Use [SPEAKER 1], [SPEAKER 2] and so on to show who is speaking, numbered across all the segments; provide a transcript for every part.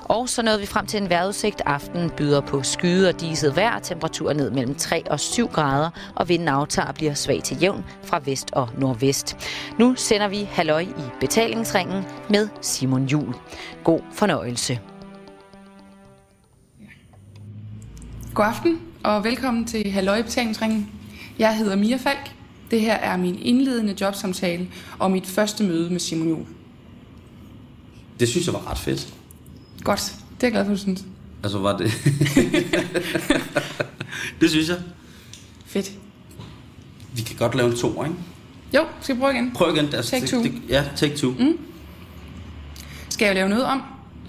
[SPEAKER 1] Og så nåede vi frem til en vejrudsigt. Aftenen byder på skyde og diset vejr, temperaturer ned mellem 3 og 7 grader, og vinden aftager og bliver svag til jævn fra vest og nordvest. Nu sender vi halløj i betalingsringen med Simon Jul. God fornøjelse.
[SPEAKER 2] God aften og velkommen til Halløj i Betalingsringen. Jeg hedder Mia Falk. Det her er min indledende jobsamtale og mit første møde med Simon Juhl.
[SPEAKER 3] Det synes jeg var ret fedt.
[SPEAKER 2] Godt, det er jeg glad for, du synes.
[SPEAKER 3] Altså var det... det synes jeg.
[SPEAKER 2] Fedt.
[SPEAKER 3] Vi kan godt lave en to, ikke?
[SPEAKER 2] Jo, skal jeg prøve igen?
[SPEAKER 3] Prøv igen. Altså,
[SPEAKER 2] Take
[SPEAKER 3] det-
[SPEAKER 2] two.
[SPEAKER 3] Det, ja, take two. Mm.
[SPEAKER 2] Skal jeg lave noget om?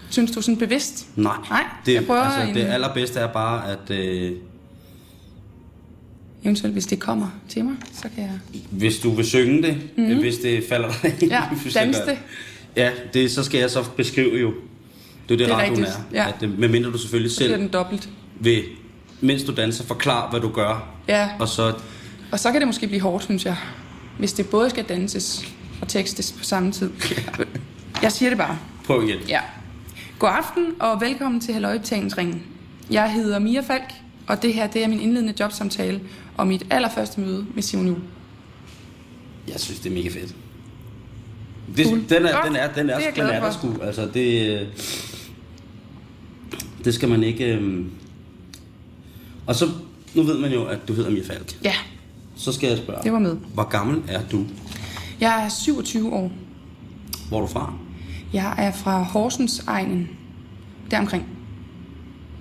[SPEAKER 2] Synes du sådan bevidst?
[SPEAKER 3] Nej.
[SPEAKER 2] Nej,
[SPEAKER 3] det,
[SPEAKER 2] jeg prøver
[SPEAKER 3] altså,
[SPEAKER 2] en-
[SPEAKER 3] det allerbedste er bare, at øh,
[SPEAKER 2] Eventuelt, hvis det kommer til mig, så kan jeg...
[SPEAKER 3] hvis du vil synge det, mm. øh, hvis det falder dig ind,
[SPEAKER 2] Mhm. Ja,
[SPEAKER 3] hvis jeg
[SPEAKER 2] dans
[SPEAKER 3] gør-
[SPEAKER 2] det.
[SPEAKER 3] Ja, det, så skal jeg så beskrive jo. Det er jo det,
[SPEAKER 2] Det er
[SPEAKER 3] radioen
[SPEAKER 2] rigtigt,
[SPEAKER 3] er.
[SPEAKER 2] ja.
[SPEAKER 3] At, øh, medmindre du selvfølgelig
[SPEAKER 2] Så bliver
[SPEAKER 3] selv
[SPEAKER 2] den dobbelt.
[SPEAKER 3] vil, mens du danser, forklare, hvad du gør.
[SPEAKER 2] Ja.
[SPEAKER 3] Og så
[SPEAKER 2] Og så kan det måske blive hårdt, synes jeg. Hvis det både skal danses og tekstes på samme tid. Jeg siger det bare.
[SPEAKER 3] prøv igen.
[SPEAKER 2] Ja. God aften og velkommen til Halløjbetalingsringen. Jeg hedder Mia Falk, og det her det er min indledende jobsamtale og mit allerførste møde med Simon Juhl.
[SPEAKER 3] Jeg synes, det er mega fedt. Det,
[SPEAKER 2] Cool.
[SPEAKER 3] Den er,
[SPEAKER 2] Godt.
[SPEAKER 3] den er, den
[SPEAKER 2] Det er
[SPEAKER 3] er,
[SPEAKER 2] jeg
[SPEAKER 3] den
[SPEAKER 2] glad
[SPEAKER 3] er, den er der
[SPEAKER 2] for.
[SPEAKER 3] sgu. Altså, det, øh, det skal man ikke... øhm. Og så, nu ved man jo, at du hedder Mia Falk.
[SPEAKER 2] Ja,
[SPEAKER 3] Så skal jeg spørge,
[SPEAKER 2] det var med.
[SPEAKER 3] hvor gammel er du?
[SPEAKER 2] Jeg er 27 år.
[SPEAKER 3] Hvor er du fra?
[SPEAKER 2] Jeg er fra Horsens egnen. Deromkring.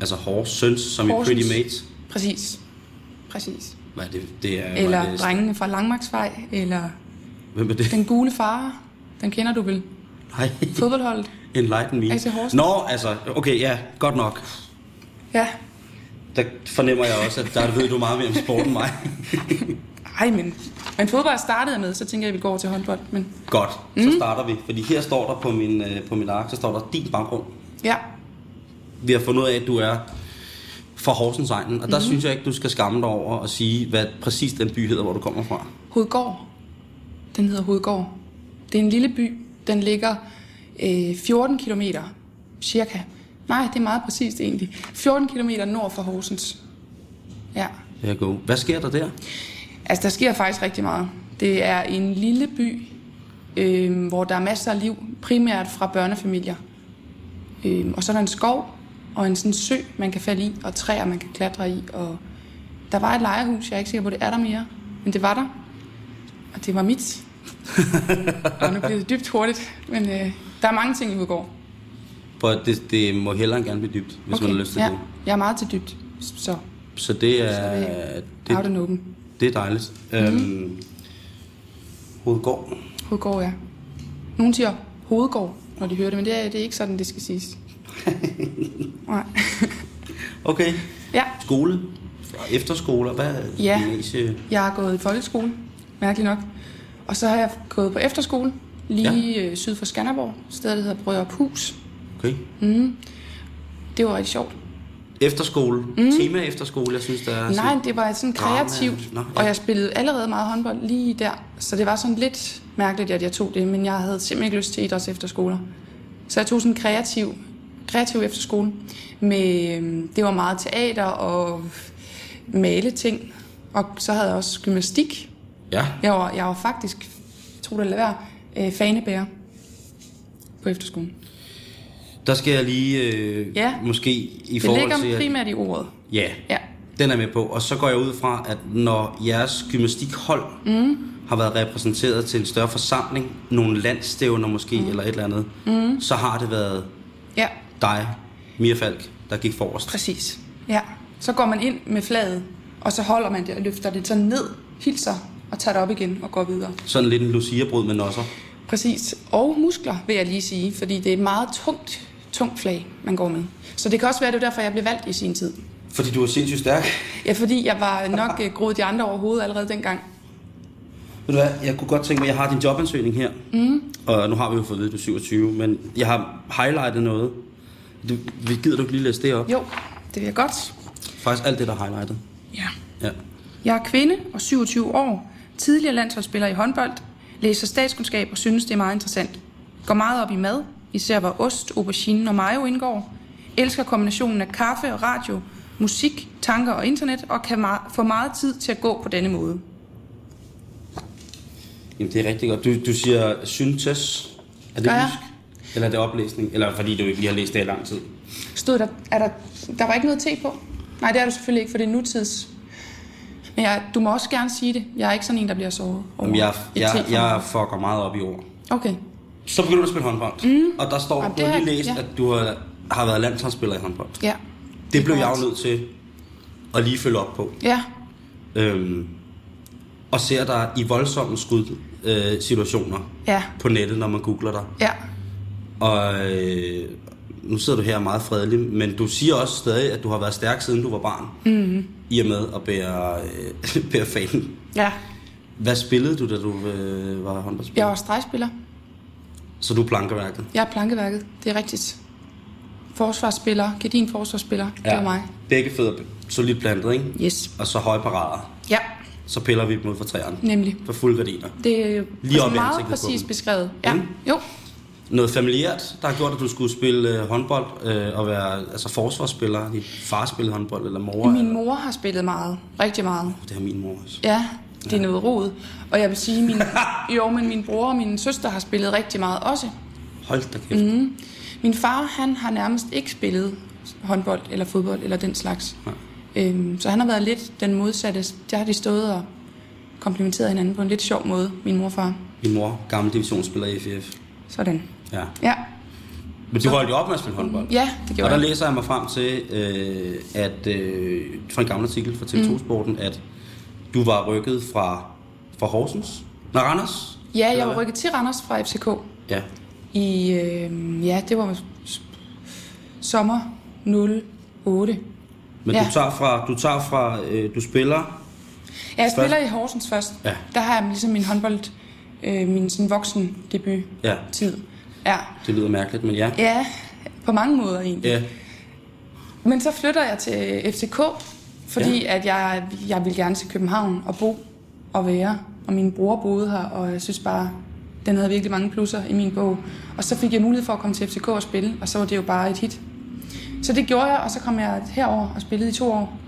[SPEAKER 3] Altså Horsens, som i
[SPEAKER 2] Horsens.
[SPEAKER 3] Pretty Mates.
[SPEAKER 2] Præcis. Præcis.
[SPEAKER 3] Hvad er det? det er, hvad er
[SPEAKER 2] Eller
[SPEAKER 3] det,
[SPEAKER 2] drengene fra Langmarksvej, eller
[SPEAKER 3] Hvem er det?
[SPEAKER 2] den gule far. Den kender du vel?
[SPEAKER 3] Nej,
[SPEAKER 2] Fodboldholdet.
[SPEAKER 3] Enlighten Me.
[SPEAKER 2] AC Horsens.
[SPEAKER 3] Nå, altså, okay, ja, godt nok.
[SPEAKER 2] Ja.
[SPEAKER 3] Der fornemmer jeg også, at der ved du meget mere om sport end mig.
[SPEAKER 2] Ej, men, men fodbold startede jeg med, så tænker jeg, at vi går over til håndbold. Men
[SPEAKER 3] Godt, så starter vi. Fordi her står der på min, øh, på min ark, så står der din baggrund.
[SPEAKER 2] ja,
[SPEAKER 3] Vi har fundet ud af, at du er fra Horsens egnen, og der mm. synes jeg ikke, du skal skamme dig over at sige, hvad præcis den by hedder, hvor du kommer fra.
[SPEAKER 2] Hovedgård. Den hedder Hovedgård. Det er en lille by. Den ligger øh, 14 km cirka. Nej, det er meget præcist egentlig. 14 km nord for Horsens. Ja.
[SPEAKER 3] Jeg go. Hvad sker der der?
[SPEAKER 2] Altså, der sker faktisk rigtig meget. Det er en lille by, øh, hvor der er masser af liv, primært fra børnefamilier. Øh, og så er der en skov og en sådan sø, man kan falde i, og træer, man kan klatre i. Og der var et lejehus, jeg er ikke sikker på, det er der mere, men det var der. Og det var mit. og nu bliver det dybt hurtigt, men øh, der er mange ting i Udgård.
[SPEAKER 3] For det, det må heller ikke gerne blive dybt, hvis okay. man har lyst til
[SPEAKER 2] ja.
[SPEAKER 3] det.
[SPEAKER 2] Jeg er meget til dybt, så
[SPEAKER 3] Så det er,
[SPEAKER 2] det- out
[SPEAKER 3] det,
[SPEAKER 2] and open.
[SPEAKER 3] det er dejligt. Mm. Øhm, Hovedgård.
[SPEAKER 2] Hovedgård, ja. Nogle siger hovedgård, når de hører det, men det er, det er ikke sådan, det skal siges. Nej.
[SPEAKER 3] Okay.
[SPEAKER 2] ja,
[SPEAKER 3] Skole. Efterskoler. Hvad?
[SPEAKER 2] Ja.
[SPEAKER 3] Gymnasie.
[SPEAKER 2] jeg har gået i folkeskole, mærkeligt nok. Og så har jeg gået på efterskole, lige ja. syd for Skanderborg, stedet der hedder Brørup Hus.
[SPEAKER 3] Okay.
[SPEAKER 2] Det var rigtig sjovt.
[SPEAKER 3] Efterskole. Mm. Tema efterskole, jeg synes, der er...
[SPEAKER 2] Nej, det var sådan
[SPEAKER 3] Altså, drama.
[SPEAKER 2] kreativt,
[SPEAKER 3] Nå, ja.
[SPEAKER 2] og jeg spillede allerede meget håndbold lige der. Så det var sådan lidt mærkeligt, at jeg tog det, men jeg havde simpelthen ikke lyst til idræts efterskoler. Så jeg tog sådan en kreativ, kreativ efterskole. Med, øhm, det var meget teater og male ting. Og så havde jeg også gymnastik.
[SPEAKER 3] Ja.
[SPEAKER 2] Jeg var, jeg var faktisk, tro det eller lad være, øh, fanebærer på efterskolen.
[SPEAKER 3] Der skal jeg lige... Øh,
[SPEAKER 2] Ja.
[SPEAKER 3] Måske i
[SPEAKER 2] Det
[SPEAKER 3] forhold til...
[SPEAKER 2] ligger
[SPEAKER 3] at-
[SPEAKER 2] primært i ordet.
[SPEAKER 3] Ja.
[SPEAKER 2] Ja.
[SPEAKER 3] Den er med på. Og så går jeg ud fra, at når jeres gymnastikhold mm. har været repræsenteret til en større forsamling, nogle landstævner måske, mm. eller et eller andet, mm. så har det været
[SPEAKER 2] Ja,
[SPEAKER 3] dig, Mia Falk, der gik forrest.
[SPEAKER 2] Præcis. Ja. Så går man ind med flaget, og så holder man det og løfter det så ned, hilser og tager det op igen og går videre.
[SPEAKER 3] Sådan lidt en Lucia-brud med nosser.
[SPEAKER 2] Præcis. Og muskler, vil jeg lige sige, fordi det er et meget tungt, tungt flag, man går med. Så det kan også være, det var derfor, jeg blev valgt i sin tid.
[SPEAKER 3] Fordi du er sindssygt stærk.
[SPEAKER 2] Ja, fordi jeg var nok øh, groet de andre over hovedet allerede dengang.
[SPEAKER 3] Ved du hvad, jeg kunne godt tænke mig, jeg har din jobansøgning her. Mm. Og nu har vi jo fået at vide, at du er 27, men jeg har highlightet noget. Du, vi gider du ikke lige læse det op?
[SPEAKER 2] Jo, det vil jeg godt.
[SPEAKER 3] Faktisk alt det, der er highlightet.
[SPEAKER 2] Ja.
[SPEAKER 3] Ja.
[SPEAKER 2] Jeg er kvinde og 27 år, tidligere landsholdsspiller i håndbold, læser statskundskab og synes, det er meget interessant. Går meget op i mad, især hvor ost, aubergine og mayo indgår. elsker kombinationen af kaffe og radio, musik, tanker og internet, og kan meget, få meget tid til at gå på denne måde.
[SPEAKER 3] Jamen, det er rigtig godt. Du, du siger syntes. Er det
[SPEAKER 2] Gør jeg?
[SPEAKER 3] ja. Eller er det oplæsning? Eller fordi du ikke lige har læst det i lang tid?
[SPEAKER 2] Stod der, er der, der var ikke noget te på? Nej, det er du selvfølgelig ikke, for det er nutids. Men jeg, du må også gerne sige det. Jeg er ikke sådan en, der bliver såret. over
[SPEAKER 3] Jamen, jeg,
[SPEAKER 2] et
[SPEAKER 3] jeg,
[SPEAKER 2] te fra
[SPEAKER 3] jeg fucker meget op i ord.
[SPEAKER 2] mig. Okay.
[SPEAKER 3] Så begynder du at spille håndbold. Mm. Og der står,
[SPEAKER 2] Jamen,
[SPEAKER 3] du
[SPEAKER 2] det
[SPEAKER 3] har lige
[SPEAKER 2] har-
[SPEAKER 3] læst,
[SPEAKER 2] ja.
[SPEAKER 3] at du har, har været landsholdsspiller i håndbold.
[SPEAKER 2] Ja.
[SPEAKER 3] Det blev jeg
[SPEAKER 2] korrekt.
[SPEAKER 3] jo nødt til at lige følge op på.
[SPEAKER 2] Ja,
[SPEAKER 3] Øhm, og ser dig i voldsomme skud øh, situationer
[SPEAKER 2] ja,
[SPEAKER 3] på nettet, når man googler dig.
[SPEAKER 2] ja.
[SPEAKER 3] Og øh, nu sidder du her meget fredelig, men du siger også stadig, at du har været stærk, siden du var barn. Mm-hmm.
[SPEAKER 2] Mhm.
[SPEAKER 3] I og med at bære, øh, bære fanen.
[SPEAKER 2] Ja,
[SPEAKER 3] Hvad spillede du, da du øh, var håndboldspiller?
[SPEAKER 2] jeg var stregspiller.
[SPEAKER 3] Så du er plankeværket?
[SPEAKER 2] Jeg er plankeværket, det er rigtigt. Forsvarsspiller, gedin forsvarsspiller, ja. det er mig.
[SPEAKER 3] Begge fødder solidt plantet, ikke?
[SPEAKER 2] Yes.
[SPEAKER 3] Og så høje parader.
[SPEAKER 2] Ja,
[SPEAKER 3] Så piller vi dem ud fra træerne.
[SPEAKER 2] nemlig.
[SPEAKER 3] For fulde gardiner.
[SPEAKER 2] Det er altså
[SPEAKER 3] Lige op i
[SPEAKER 2] meget
[SPEAKER 3] ansigtet på
[SPEAKER 2] præcist
[SPEAKER 3] dem.
[SPEAKER 2] beskrevet. Ja,
[SPEAKER 3] Mm.
[SPEAKER 2] jo.
[SPEAKER 3] Noget familiært, der har gjort, at du skulle spille øh, håndbold øh, og være altså, forsvarsspiller. Din far spillede håndbold, eller mor?
[SPEAKER 2] Min
[SPEAKER 3] eller,
[SPEAKER 2] mor har spillet meget, rigtig meget.
[SPEAKER 3] det har min mor også.
[SPEAKER 2] Ja, det er noget rod. Og jeg vil sige, min, jo, men min bror og min søster har spillet rigtig meget også.
[SPEAKER 3] Hold da kæft.
[SPEAKER 2] Mhm.
[SPEAKER 3] Mm.
[SPEAKER 2] Min far, han har nærmest ikke spillet håndbold eller fodbold eller den slags. Øhm, så han har været lidt den modsatte. Der har de stået og komplimenteret hinanden på en lidt sjov måde, min mor og far.
[SPEAKER 3] Min mor, gammel divisionsspiller i FF.
[SPEAKER 2] Sådan.
[SPEAKER 3] Ja.
[SPEAKER 2] Ja,
[SPEAKER 3] Men du holdt jo op med at spille håndbold.
[SPEAKER 2] ja det
[SPEAKER 3] Og
[SPEAKER 2] gjorde
[SPEAKER 3] der
[SPEAKER 2] jeg.
[SPEAKER 3] læser jeg mig frem til, øh, at øh, fra en gammel artikel fra
[SPEAKER 2] Mm.
[SPEAKER 3] TV2-sporten, at du var rykket fra, fra Horsens? Nej, Randers?
[SPEAKER 2] Ja,
[SPEAKER 3] Eller
[SPEAKER 2] jeg var
[SPEAKER 3] hvad?
[SPEAKER 2] rykket til Randers fra FCK
[SPEAKER 3] Ja.
[SPEAKER 2] i, øh, ja, det var s- sommer 08.
[SPEAKER 3] Men
[SPEAKER 2] Ja.
[SPEAKER 3] du tager fra, du, tager fra øh, du spiller...
[SPEAKER 2] Ja, jeg
[SPEAKER 3] Først-
[SPEAKER 2] spiller i Horsens først.
[SPEAKER 3] Ja.
[SPEAKER 2] Der har jeg ligesom min håndbold, øh, min sådan voksen debut
[SPEAKER 3] Ja,
[SPEAKER 2] tid. Ja.
[SPEAKER 3] det lyder mærkeligt, men ja.
[SPEAKER 2] ja, på mange måder egentlig.
[SPEAKER 3] Ja,
[SPEAKER 2] Men så flytter jeg til FCK, fordi ja. at jeg, jeg vil gerne til København og bo og være. Og min bror boede her, og jeg synes bare, den havde virkelig mange plusser i min bog. Og så fik jeg mulighed for at komme til FCK og spille, og så var det jo bare et hit. Så det gjorde jeg, og så kom jeg herover og spillede i to år.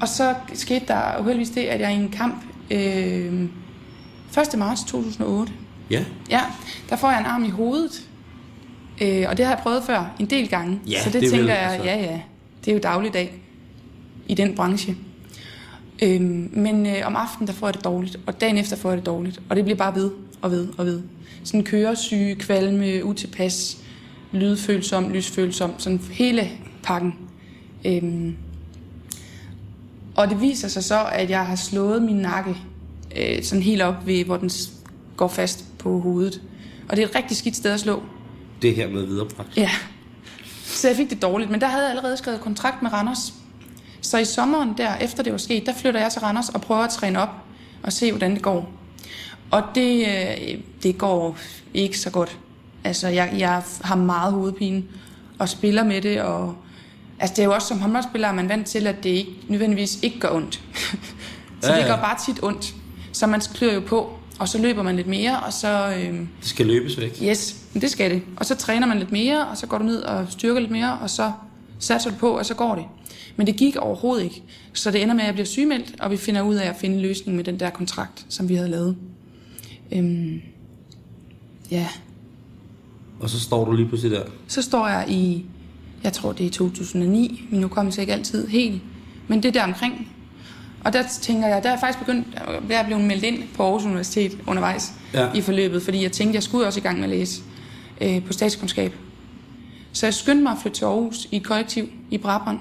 [SPEAKER 2] Og så skete der uheldigvis det, at jeg i en kamp øh, 1. marts 2008,
[SPEAKER 3] ja.
[SPEAKER 2] ja, der får jeg en arm i hovedet. Øh, og det har jeg prøvet før en del gange.
[SPEAKER 3] Ja,
[SPEAKER 2] så det,
[SPEAKER 3] det er
[SPEAKER 2] tænker
[SPEAKER 3] vel,
[SPEAKER 2] jeg,
[SPEAKER 3] altså.
[SPEAKER 2] ja ja, det er jo dagligdag i den branche. Øhm, men øh, om aftenen, der får jeg det dårligt, og dagen efter får jeg det dårligt. Og det bliver bare ved og ved og ved. Sådan køresyge, kvalme, utilpas, lydfølsom, lysfølsom, sådan hele pakken. Øhm, og det viser sig så, at jeg har slået min nakke øh, sådan helt op ved, hvor den s- går fast på hovedet. Og det er et rigtig skidt sted at slå.
[SPEAKER 3] Det er her med viderebragt.
[SPEAKER 2] Ja. Så jeg fik det dårligt, men der havde jeg allerede skrevet kontrakt med Randers. Så i sommeren der, efter det var sket, der flytter jeg til Randers og prøver at træne op og se, hvordan det går. Og det, øh, det går ikke så godt. Altså, jeg, jeg har meget hovedpine og spiller med det, og altså, det er jo også som håndboldspiller, at man er vant til, at det ikke, nødvendigvis ikke gør ondt. så
[SPEAKER 3] Ja,
[SPEAKER 2] det
[SPEAKER 3] ja.
[SPEAKER 2] gør bare tit ondt. Så man klør jo på, og så løber man lidt mere, og så... Øh,
[SPEAKER 3] Det skal løbes væk.
[SPEAKER 2] Yes, men det skal det. Og så træner man lidt mere, og så går du ned og styrker lidt mere, og så satser du på, og så går det. Men det gik overhovedet ikke. Så det ender med, at jeg bliver sygemeldt, og vi finder ud af at finde en løsning med den der kontrakt, som vi havde lavet. Øhm, ja,
[SPEAKER 3] Og så står du lige pludselig der.
[SPEAKER 2] så står jeg i, jeg tror det er 2009, min hukommelse er ikke altid helt, men det er der omkring. Og der tænker jeg, der er jeg faktisk begyndt, der er blevet meldt ind på Aarhus Universitet undervejs
[SPEAKER 3] Ja.
[SPEAKER 2] ja. i forløbet, fordi jeg tænkte, jeg skulle også i gang med at læse øh, på statskundskab. Så jeg skyndte mig at flytte til Aarhus i et kollektiv i Brabrand.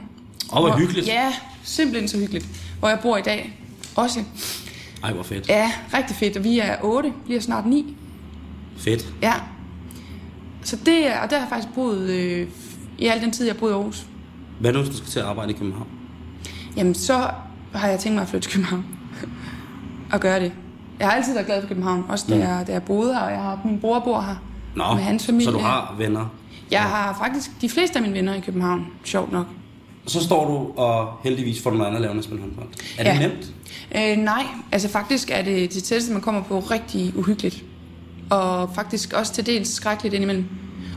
[SPEAKER 3] Åh, hvor hyggeligt.
[SPEAKER 2] Ja, simpelthen så hyggeligt. Hvor jeg bor i dag også.
[SPEAKER 3] Ej, hvor fedt.
[SPEAKER 2] Ja, rigtig fedt. Og vi er otte, bliver snart ni.
[SPEAKER 3] Fedt.
[SPEAKER 2] Ja. Så det er, og der har jeg faktisk boet øh, i al den tid, jeg har boet i Aarhus.
[SPEAKER 3] Hvad nu, hvis du skal til at arbejde i København?
[SPEAKER 2] Jamen, så har jeg tænkt mig at flytte til København. og gøre det. Jeg har altid været glad for København, også da,
[SPEAKER 3] Mm.
[SPEAKER 2] jeg, da jeg boede her, og jeg har, min bror bor her.
[SPEAKER 3] Nå,
[SPEAKER 2] med hans familie.
[SPEAKER 3] så du har venner.
[SPEAKER 2] Jeg har faktisk de fleste af mine venner i København, sjovt nok.
[SPEAKER 3] Så står du og heldigvis får du noget andet at lave, end at spille håndbold. Er det
[SPEAKER 2] Ja.
[SPEAKER 3] nemt?
[SPEAKER 2] Øh, nej, altså faktisk er det det tætteste, man kommer på rigtig uhyggeligt. Og faktisk også til dels skrækkeligt indimellem.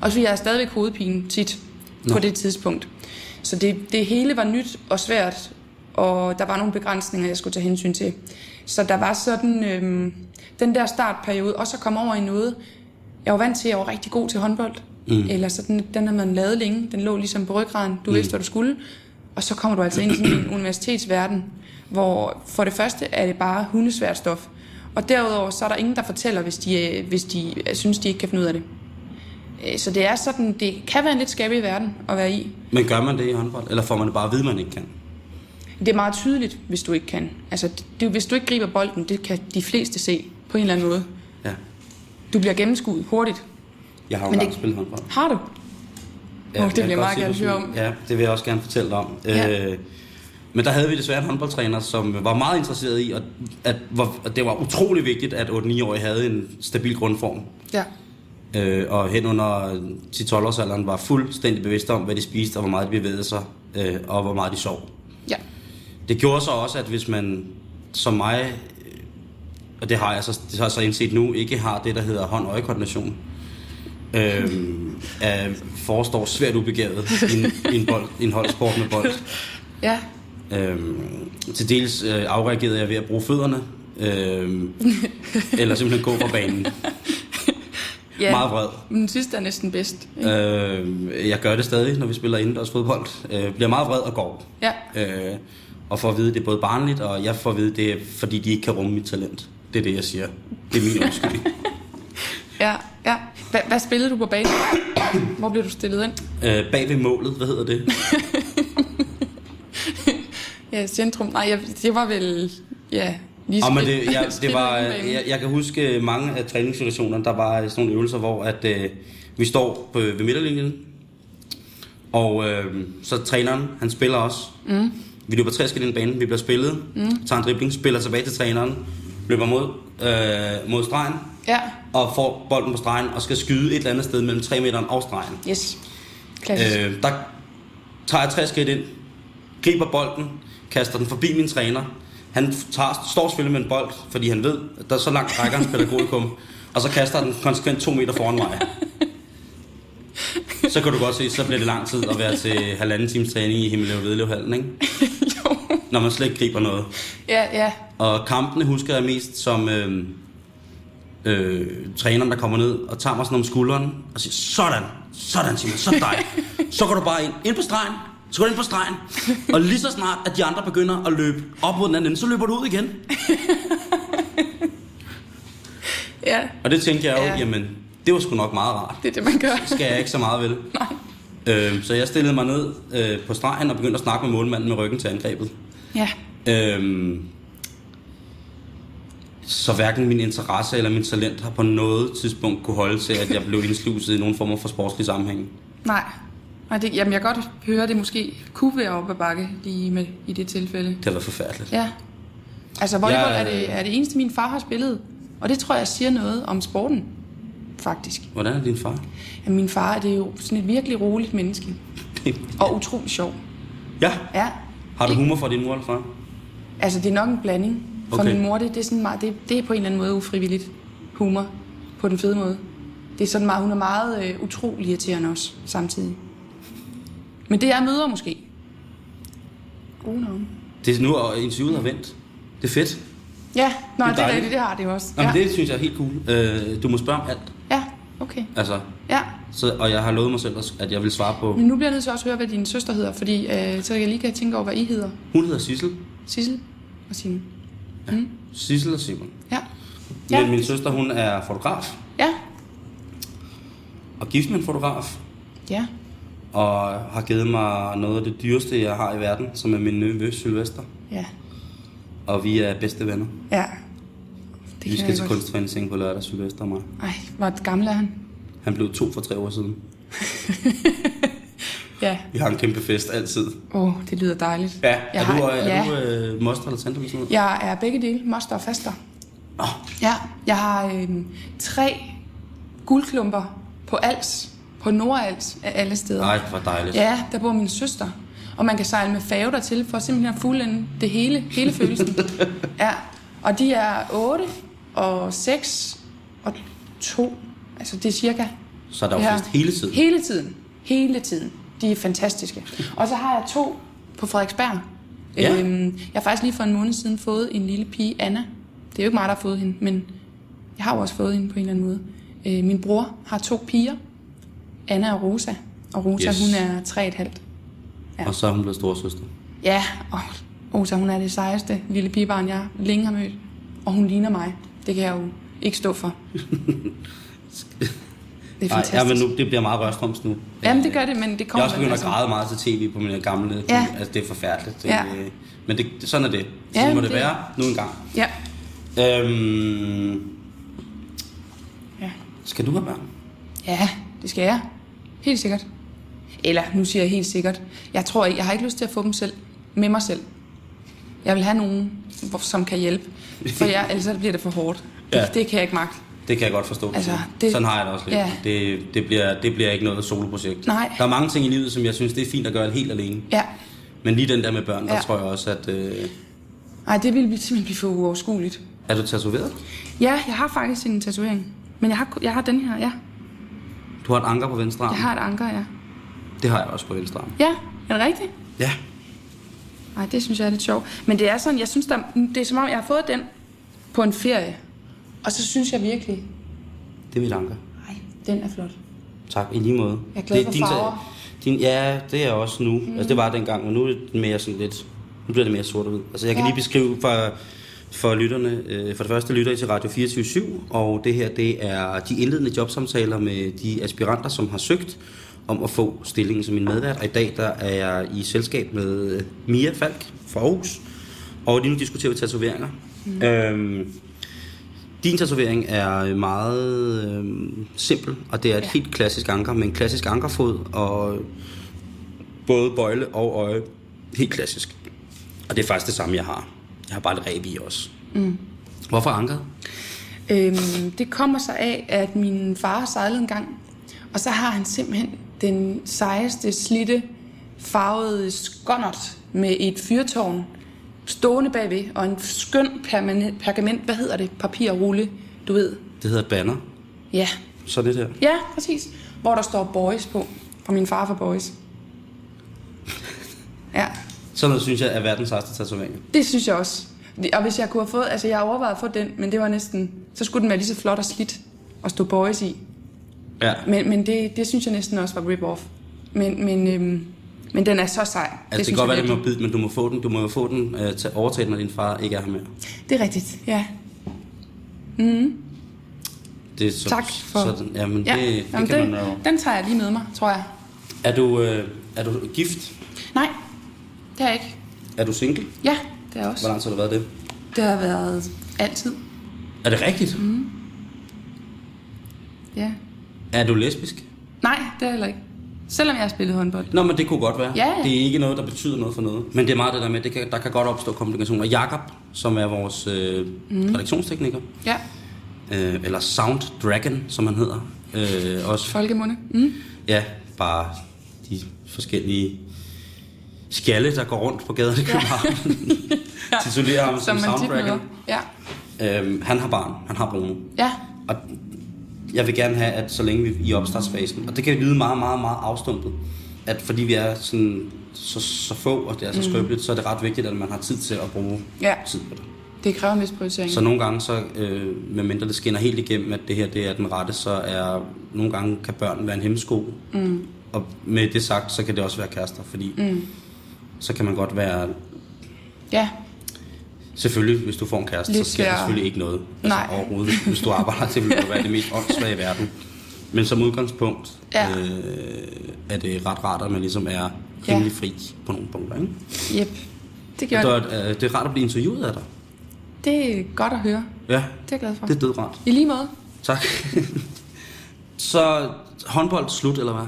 [SPEAKER 2] Også fordi jeg har stadigvæk hovedpine tit. Nå. på det tidspunkt. Så det, det hele var nyt og svært, og der var nogle begrænsninger, jeg skulle tage hensyn til. Så der var sådan øh, den der startperiode, og så kom over i noget. Jeg var vant til, at jeg var rigtig god til håndbold. Mm. Eller sådan, den havde man lavet længe. Den lå ligesom på ryggraden. Du mm. vidste, hvad du skulle. Og så kommer du altså ind i sådan en universitetsverden, hvor for det første er det bare hundesvært stof. Og derudover så er der ingen, der fortæller, hvis de, øh, hvis de synes, de ikke kan finde ud af det. Øh, Så det er sådan, det kan være en lidt skabelig verden at være i.
[SPEAKER 3] Men gør man det i håndbold, eller får man det bare at vide, man ikke kan?
[SPEAKER 2] Det er meget tydeligt, hvis du ikke kan. Altså, det, hvis du ikke griber bolden, det kan de fleste se på en eller anden måde.
[SPEAKER 3] Ja.
[SPEAKER 2] Du bliver gennemskuet hurtigt.
[SPEAKER 3] Jeg har jo engang spillet håndbold.
[SPEAKER 2] Har du?
[SPEAKER 3] Ja,
[SPEAKER 2] Åh, det
[SPEAKER 3] jeg
[SPEAKER 2] vil jeg
[SPEAKER 3] kan
[SPEAKER 2] meget
[SPEAKER 3] godt
[SPEAKER 2] gerne
[SPEAKER 3] sige,
[SPEAKER 2] høre
[SPEAKER 3] du-
[SPEAKER 2] om.
[SPEAKER 3] Ja, det vil jeg også gerne fortælle dig om.
[SPEAKER 2] Ja.
[SPEAKER 3] Øh, men der havde vi desværre en håndboldtræner, som var meget interesseret i, at, at, hvor- at det var utrolig vigtigt, at 8-9-årige havde en stabil grundform.
[SPEAKER 2] Ja.
[SPEAKER 3] Øh, og hen under 10-12 års alderen var fuldstændig bevidst om, hvad de spiste, og hvor meget de bevægede sig, øh, og hvor meget de sov.
[SPEAKER 2] Ja.
[SPEAKER 3] Det gjorde så også, at hvis man som mig, øh, og det har jeg så, det har jeg så indset nu, ikke har det, der hedder hånd-øje-koordination, øhm, øh, forestår svært ubegavet i en, i en, bold, i en holdsport med bold.
[SPEAKER 2] Ja.
[SPEAKER 3] Øhm, til dels øh, afreagerede jeg ved at bruge fødderne, øhm, eller simpelthen gå fra banen.
[SPEAKER 2] ja.
[SPEAKER 3] Meget vred.
[SPEAKER 2] Den sidste er næsten bedst. Ikke?
[SPEAKER 3] Øh, jeg gør det stadig, når vi spiller indendørs fodbold. Øh, bliver meget vred og går.
[SPEAKER 2] Ja.
[SPEAKER 3] Øh, og får at vide, det er både barnligt, og jeg får at vide, det er, fordi de ikke kan rumme mit talent. Det er det, jeg siger. Det er min undskyldning.
[SPEAKER 2] Ja. Ja. Hva, hvad spillede du på banen? Hvor blev du stillet ind?
[SPEAKER 3] øh, bag ved målet, hvad hedder det?
[SPEAKER 2] Ja, centrum. Nej, jeg, det var vel... Ja, lige
[SPEAKER 3] Og men
[SPEAKER 2] skridt-
[SPEAKER 3] det, jeg, det
[SPEAKER 2] skridt
[SPEAKER 3] var, øh,
[SPEAKER 2] uden banen.
[SPEAKER 3] jeg, jeg kan huske mange af træningssituationerne, der var sådan nogle øvelser, hvor at, øh, vi står på, ved midterlinjen, og øh, så træneren, han spiller os. Mm. Vi løber tre skridt ind i banen, vi bliver spillet, mm. tager en dribling, spiller tilbage til træneren, løber mod, øh, mod stregen,
[SPEAKER 2] Ja.
[SPEAKER 3] og får bolden på stregen, og skal skyde et eller andet sted mellem 3 meteren og stregen.
[SPEAKER 2] Yes. Klassisk.
[SPEAKER 3] Øh, der tager jeg tre skridt ind, griber bolden, kaster den forbi min træner. Han tager, står selvfølgelig med en bold, fordi han ved, at der er så langt rækker hans pædagogikum, og så kaster den konsekvent to meter foran mig. Så kan du godt se, så bliver det lang tid at være til halvanden times træning i Himmelev Vedlevhallen, ikke? Når man slet ikke griber noget.
[SPEAKER 2] Ja, ja.
[SPEAKER 3] Og kampene husker jeg mest som øh, øh, træneren, der kommer ned og tager mig sådan om skulderen og siger, sådan, sådan Simon, så dig. Så går du bare ind, ind på stregen, så går du ind på stregen. Og lige så snart, at de andre begynder at løbe op mod den anden ende, så løber du ud igen.
[SPEAKER 2] Ja,
[SPEAKER 3] Og det tænkte jeg jo,
[SPEAKER 2] Ja.
[SPEAKER 3] jamen, det var sgu nok meget rart.
[SPEAKER 2] det er det, man gør.
[SPEAKER 3] Skal jeg ikke så meget vel.
[SPEAKER 2] Nej.
[SPEAKER 3] Øh, så jeg stillede mig ned øh, på stregen og begyndte at snakke med målmanden med ryggen til angrebet.
[SPEAKER 2] Ja.
[SPEAKER 3] Øhm, så hverken min interesse eller min talent har på noget tidspunkt kunne holde til, at jeg blev indsluset i nogen form for sportslig sammenhæng.
[SPEAKER 2] Nej. Nej det, jamen, jeg kan godt høre, det måske kunne være op ad bakke lige med, i det tilfælde.
[SPEAKER 3] Det har været forfærdeligt.
[SPEAKER 2] Ja. Altså, volleyball
[SPEAKER 3] Jeg-
[SPEAKER 2] er, det, er det eneste, min far har spillet. Og det tror jeg siger noget om sporten, faktisk.
[SPEAKER 3] Hvordan er din far?
[SPEAKER 2] At min far det er jo sådan et virkelig roligt menneske. Og utrolig sjov.
[SPEAKER 3] Ja.
[SPEAKER 2] Ja.
[SPEAKER 3] Har du humor fra din mor eller far?
[SPEAKER 2] Altså, det er nok en blanding. For
[SPEAKER 3] Okay.
[SPEAKER 2] okay. min mor, det, det, er sådan meget, det, det er på en eller anden måde ufrivilligt humor. På den fede måde. Det er sådan meget, hun er meget øh, utrolig irriterende også, samtidig. Men det er møder måske. Gode navne.
[SPEAKER 3] Det er nu, og interviewet har vendt. Det er fedt.
[SPEAKER 2] Ja, nej, det,
[SPEAKER 3] Det er
[SPEAKER 2] det,
[SPEAKER 3] dejligt.
[SPEAKER 2] det, det har det jo også.
[SPEAKER 3] Nå,
[SPEAKER 2] ja.
[SPEAKER 3] ja. men det synes jeg er helt cool. Øh, du må spørge om alt.
[SPEAKER 2] ja, okay.
[SPEAKER 3] Altså,
[SPEAKER 2] Ja,
[SPEAKER 3] så, og jeg har lovet mig selv, også, at jeg vil svare på...
[SPEAKER 2] Men nu bliver jeg nødt til også at høre, hvad din søster hedder, fordi øh, så jeg lige kan tænke over, hvad I hedder.
[SPEAKER 3] Hun hedder Sissel.
[SPEAKER 2] Sissel og Signe.
[SPEAKER 3] Sissel og Simon.
[SPEAKER 2] Ja.
[SPEAKER 3] Ja.
[SPEAKER 2] Ja.
[SPEAKER 3] Men min søster, hun er fotograf.
[SPEAKER 2] Ja.
[SPEAKER 3] Og gift med en fotograf.
[SPEAKER 2] Ja.
[SPEAKER 3] og har givet mig noget af det dyreste, jeg har i verden, som er min nevø Sylvester.
[SPEAKER 2] Ja.
[SPEAKER 3] Og vi er bedste venner.
[SPEAKER 2] Ja.
[SPEAKER 3] Det vi
[SPEAKER 2] kan
[SPEAKER 3] skal
[SPEAKER 2] jeg
[SPEAKER 3] til
[SPEAKER 2] godt.
[SPEAKER 3] kunstforening på lørdag, Sylvester og mig.
[SPEAKER 2] Ej, hvor gammel er han?
[SPEAKER 3] Han blev to for tre år siden.
[SPEAKER 2] Ja.
[SPEAKER 3] Vi har en kæmpe fest altid.
[SPEAKER 2] Åh, oh, det lyder dejligt.
[SPEAKER 3] Ja,
[SPEAKER 2] jeg
[SPEAKER 3] er du,
[SPEAKER 2] har,
[SPEAKER 3] øh, er
[SPEAKER 2] ja.
[SPEAKER 3] du øh, moster eller tante eller sådan noget?
[SPEAKER 2] Jeg er begge dele, moster og faster.
[SPEAKER 3] Nå,
[SPEAKER 2] Ja. Jeg har øh, tre guldklumper på Als, på Nordals af alle steder.
[SPEAKER 3] nej, hvor dejligt.
[SPEAKER 2] Ja, der bor min søster. Og man kan sejle med fave dertil for simpelthen at fuldende det hele, hele følelsen. ja. Og de er 8 og 6 og 2. Altså det er cirka.
[SPEAKER 3] Så er der jo
[SPEAKER 2] Ja.
[SPEAKER 3] fest hele tiden.
[SPEAKER 2] Hele tiden. Hele tiden. De er fantastiske. Og så har jeg to på Frederiksberg.
[SPEAKER 3] Ja.
[SPEAKER 2] Øhm, jeg har faktisk lige for en måned siden fået en lille pige, Anna. Det er jo ikke mig, der har fået hende, men jeg har jo også fået hende på en eller anden måde. Øh, min bror har to piger, Anna og Rosa. Og Rosa,
[SPEAKER 3] Yes.
[SPEAKER 2] yes. hun er tre et halvt. Ja.
[SPEAKER 3] Og så er hun blevet storesøster.
[SPEAKER 2] Ja, og Rosa, hun er det sejeste lille pigebarn, jeg længe har mødt. Og hun ligner mig. Det kan jeg jo ikke stå for. Det er
[SPEAKER 3] Ej,
[SPEAKER 2] fantastisk.
[SPEAKER 3] ja, men nu, det bliver meget rørstrøms nu.
[SPEAKER 2] Jamen, det gør det, men det
[SPEAKER 3] Jeg
[SPEAKER 2] kommer
[SPEAKER 3] er også
[SPEAKER 2] vel,
[SPEAKER 3] begyndt at
[SPEAKER 2] altså.
[SPEAKER 3] græde meget til tv på mine gamle.
[SPEAKER 2] Ja.
[SPEAKER 3] Altså, det er forfærdeligt. Det,
[SPEAKER 2] Ja.
[SPEAKER 3] øh, Men det, det- sådan er det. Så
[SPEAKER 2] Ja,
[SPEAKER 3] må
[SPEAKER 2] men
[SPEAKER 3] det,
[SPEAKER 2] det-
[SPEAKER 3] være nu engang.
[SPEAKER 2] Ja.
[SPEAKER 3] Øhm,
[SPEAKER 2] ja.
[SPEAKER 3] skal du have børn?
[SPEAKER 2] Ja, det skal jeg. Helt sikkert. Eller, nu siger jeg helt sikkert. Jeg tror ikke, jeg har ikke lyst til at få dem selv. Med mig selv. Jeg vil have nogen, hvor- som kan hjælpe. For jeg, ellers så bliver det for hårdt. Det,
[SPEAKER 3] Ja.
[SPEAKER 2] ja. det kan jeg ikke magte.
[SPEAKER 3] Det kan jeg godt forstå.
[SPEAKER 2] Altså,
[SPEAKER 3] det,
[SPEAKER 2] det-
[SPEAKER 3] sådan har jeg det også lidt.
[SPEAKER 2] ja.
[SPEAKER 3] Det, det, bliver, det bliver ikke noget soloprojekt.
[SPEAKER 2] Nej.
[SPEAKER 3] Der er mange ting i livet, som jeg synes, det er fint at gøre helt alene.
[SPEAKER 2] Ja.
[SPEAKER 3] Men lige den der med børn, der
[SPEAKER 2] Ja.
[SPEAKER 3] tror jeg også, at... Øh,
[SPEAKER 2] Ej, det ville simpelthen blive for uoverskueligt.
[SPEAKER 3] er du tatoveret?
[SPEAKER 2] Ja, jeg har faktisk en tatovering. Men jeg har, ku- jeg har den her, ja.
[SPEAKER 3] Du har et anker på venstre arm.
[SPEAKER 2] Jeg har et anker, ja.
[SPEAKER 3] Det har jeg også på venstre arm.
[SPEAKER 2] Ja, er det rigtigt?
[SPEAKER 3] Ja.
[SPEAKER 2] Nej, det synes jeg er lidt sjovt. Men det er sådan, jeg synes, der, det er som om, jeg har fået den på en ferie. Og så synes jeg virkelig,
[SPEAKER 3] Det er mit anker.
[SPEAKER 2] nej, den er flot.
[SPEAKER 3] Tak, i lige måde.
[SPEAKER 2] Jeg er glad for
[SPEAKER 3] din,
[SPEAKER 2] farver.
[SPEAKER 3] Din, ja, det er jeg også nu. Mm. Altså, det var dengang, men nu er det mere sådan lidt... Nu bliver det mere sort og hvid. Altså, jeg kan ja.
[SPEAKER 2] Ja.
[SPEAKER 3] lige beskrive for, for lytterne... Øh, for det første lytter I til Radio 24 og det her, det er de indledende jobsamtaler med de aspiranter, som har søgt om at få stillingen som min medvært. Og i dag, der er jeg i selskab med øh, Mia Falk fra Aarhus. Og lige nu diskuterer vi tatoveringer. Mm. Øhm, din tatovering er meget øh, simpel, og det er et ja. helt klassisk anker, med en klassisk ankerfod og både bøjle og øje. Helt klassisk. Og det er faktisk det samme, jeg har. Jeg har bare et ræb i også. Mm. Hvorfor ankeret?
[SPEAKER 2] Øhm, det kommer sig af, at min far sejlede en gang, og så har han simpelthen den sejeste, slitte, farvede skonnert med et fyrtårn stående bagved, og en skøn permanent, pergament, hvad hedder det, papirrulle, du ved.
[SPEAKER 3] Det hedder et banner.
[SPEAKER 2] Ja,
[SPEAKER 3] Sådan det her.
[SPEAKER 2] ja, præcis. Hvor der står boys på, fra min far for boys. Ja,
[SPEAKER 3] Sådan noget synes jeg er verdens sejeste tatovering.
[SPEAKER 2] Det synes jeg også. Og hvis jeg kunne have fået... Altså, jeg overvejede at få den, men det var næsten... Så skulle den være lige så flot og slidt og stå boys i.
[SPEAKER 3] Ja.
[SPEAKER 2] Men, men det, det synes jeg næsten også var rip-off. Men, men, øhm, men den er så sej.
[SPEAKER 3] Altså, det, det kan
[SPEAKER 2] synes
[SPEAKER 3] godt
[SPEAKER 2] jeg
[SPEAKER 3] være, det må
[SPEAKER 2] virkelig.
[SPEAKER 3] bide, men du må få den, du må jo få den øh, til overtale, når din far ikke er her mere.
[SPEAKER 2] Det er rigtigt, ja.
[SPEAKER 3] Det er så,
[SPEAKER 2] Tak for...
[SPEAKER 3] Sådan, jamen,
[SPEAKER 2] ja,
[SPEAKER 3] det, det
[SPEAKER 2] jamen,
[SPEAKER 3] kan
[SPEAKER 2] den,
[SPEAKER 3] man jo.
[SPEAKER 2] den tager jeg lige med mig, tror jeg.
[SPEAKER 3] Er du, øh, er du gift?
[SPEAKER 2] Nej, det er jeg ikke.
[SPEAKER 3] Er du single?
[SPEAKER 2] Ja, det er jeg også.
[SPEAKER 3] Hvor lang tid har du været det?
[SPEAKER 2] Det har været altid.
[SPEAKER 3] Er det rigtigt? Mm.
[SPEAKER 2] Ja.
[SPEAKER 3] Er du lesbisk?
[SPEAKER 2] Nej, det er jeg heller ikke. Selvom jeg har spillet håndbold.
[SPEAKER 3] Nå, men det kunne godt være.
[SPEAKER 2] Ja, ja.
[SPEAKER 3] Det er ikke noget, der betyder noget for noget. Men det er meget det der med, det kan, der kan godt opstå komplikationer. Jakob, som er vores øh, mm. redaktionstekniker,
[SPEAKER 2] Ja,
[SPEAKER 3] øh, eller Sound Dragon, som han hedder, øh, også
[SPEAKER 2] folkemunde. Mm.
[SPEAKER 3] Ja, bare de forskellige skjalle, der går rundt på gaderne i København. Ja. Titulerer ham som,
[SPEAKER 2] Som man tit møder.
[SPEAKER 3] soundtracker.
[SPEAKER 2] Ja,
[SPEAKER 3] Øhm, han har barn, han har Bruno.
[SPEAKER 2] ja.
[SPEAKER 3] Og jeg vil gerne have, at så længe vi er i opstartsfasen, og det kan lyde meget, meget, meget afstumpet, at fordi vi er sådan, så, så få, og det er så skrøbeligt, så er det ret vigtigt, at man har tid til at bruge
[SPEAKER 2] Ja.
[SPEAKER 3] tid på det.
[SPEAKER 2] Det kræver en vis prioritering.
[SPEAKER 3] Så nogle gange, så, øh, medmindre det skinner helt igennem, at det her det er den rette, så er nogle gange kan børn være en hemmesko. Mm. Og med det sagt, så kan det også være kærester, fordi mm. så kan man godt være...
[SPEAKER 2] Ja,
[SPEAKER 3] Selvfølgelig, hvis du får en kæreste,
[SPEAKER 2] Lidt
[SPEAKER 3] så sker der
[SPEAKER 2] sværere.
[SPEAKER 3] selvfølgelig ikke noget. Altså,
[SPEAKER 2] Nej.
[SPEAKER 3] overhovedet. Hvis du arbejder til, vil du være det mest åndssvage i verden. Men som udgangspunkt
[SPEAKER 2] Ja.
[SPEAKER 3] øh, er det ret rart, at man ligesom er rimelig fri på nogle punkter. Ikke?
[SPEAKER 2] jep. Det
[SPEAKER 3] Ja.
[SPEAKER 2] gjorde det.
[SPEAKER 3] Der, er- øh, det er rart at blive interviewet af dig.
[SPEAKER 2] Det er godt at høre. Det
[SPEAKER 3] Ja,
[SPEAKER 2] er jeg glad for.
[SPEAKER 3] det er dødrart.
[SPEAKER 2] I lige måde.
[SPEAKER 3] Tak. så håndbold slut, eller hvad?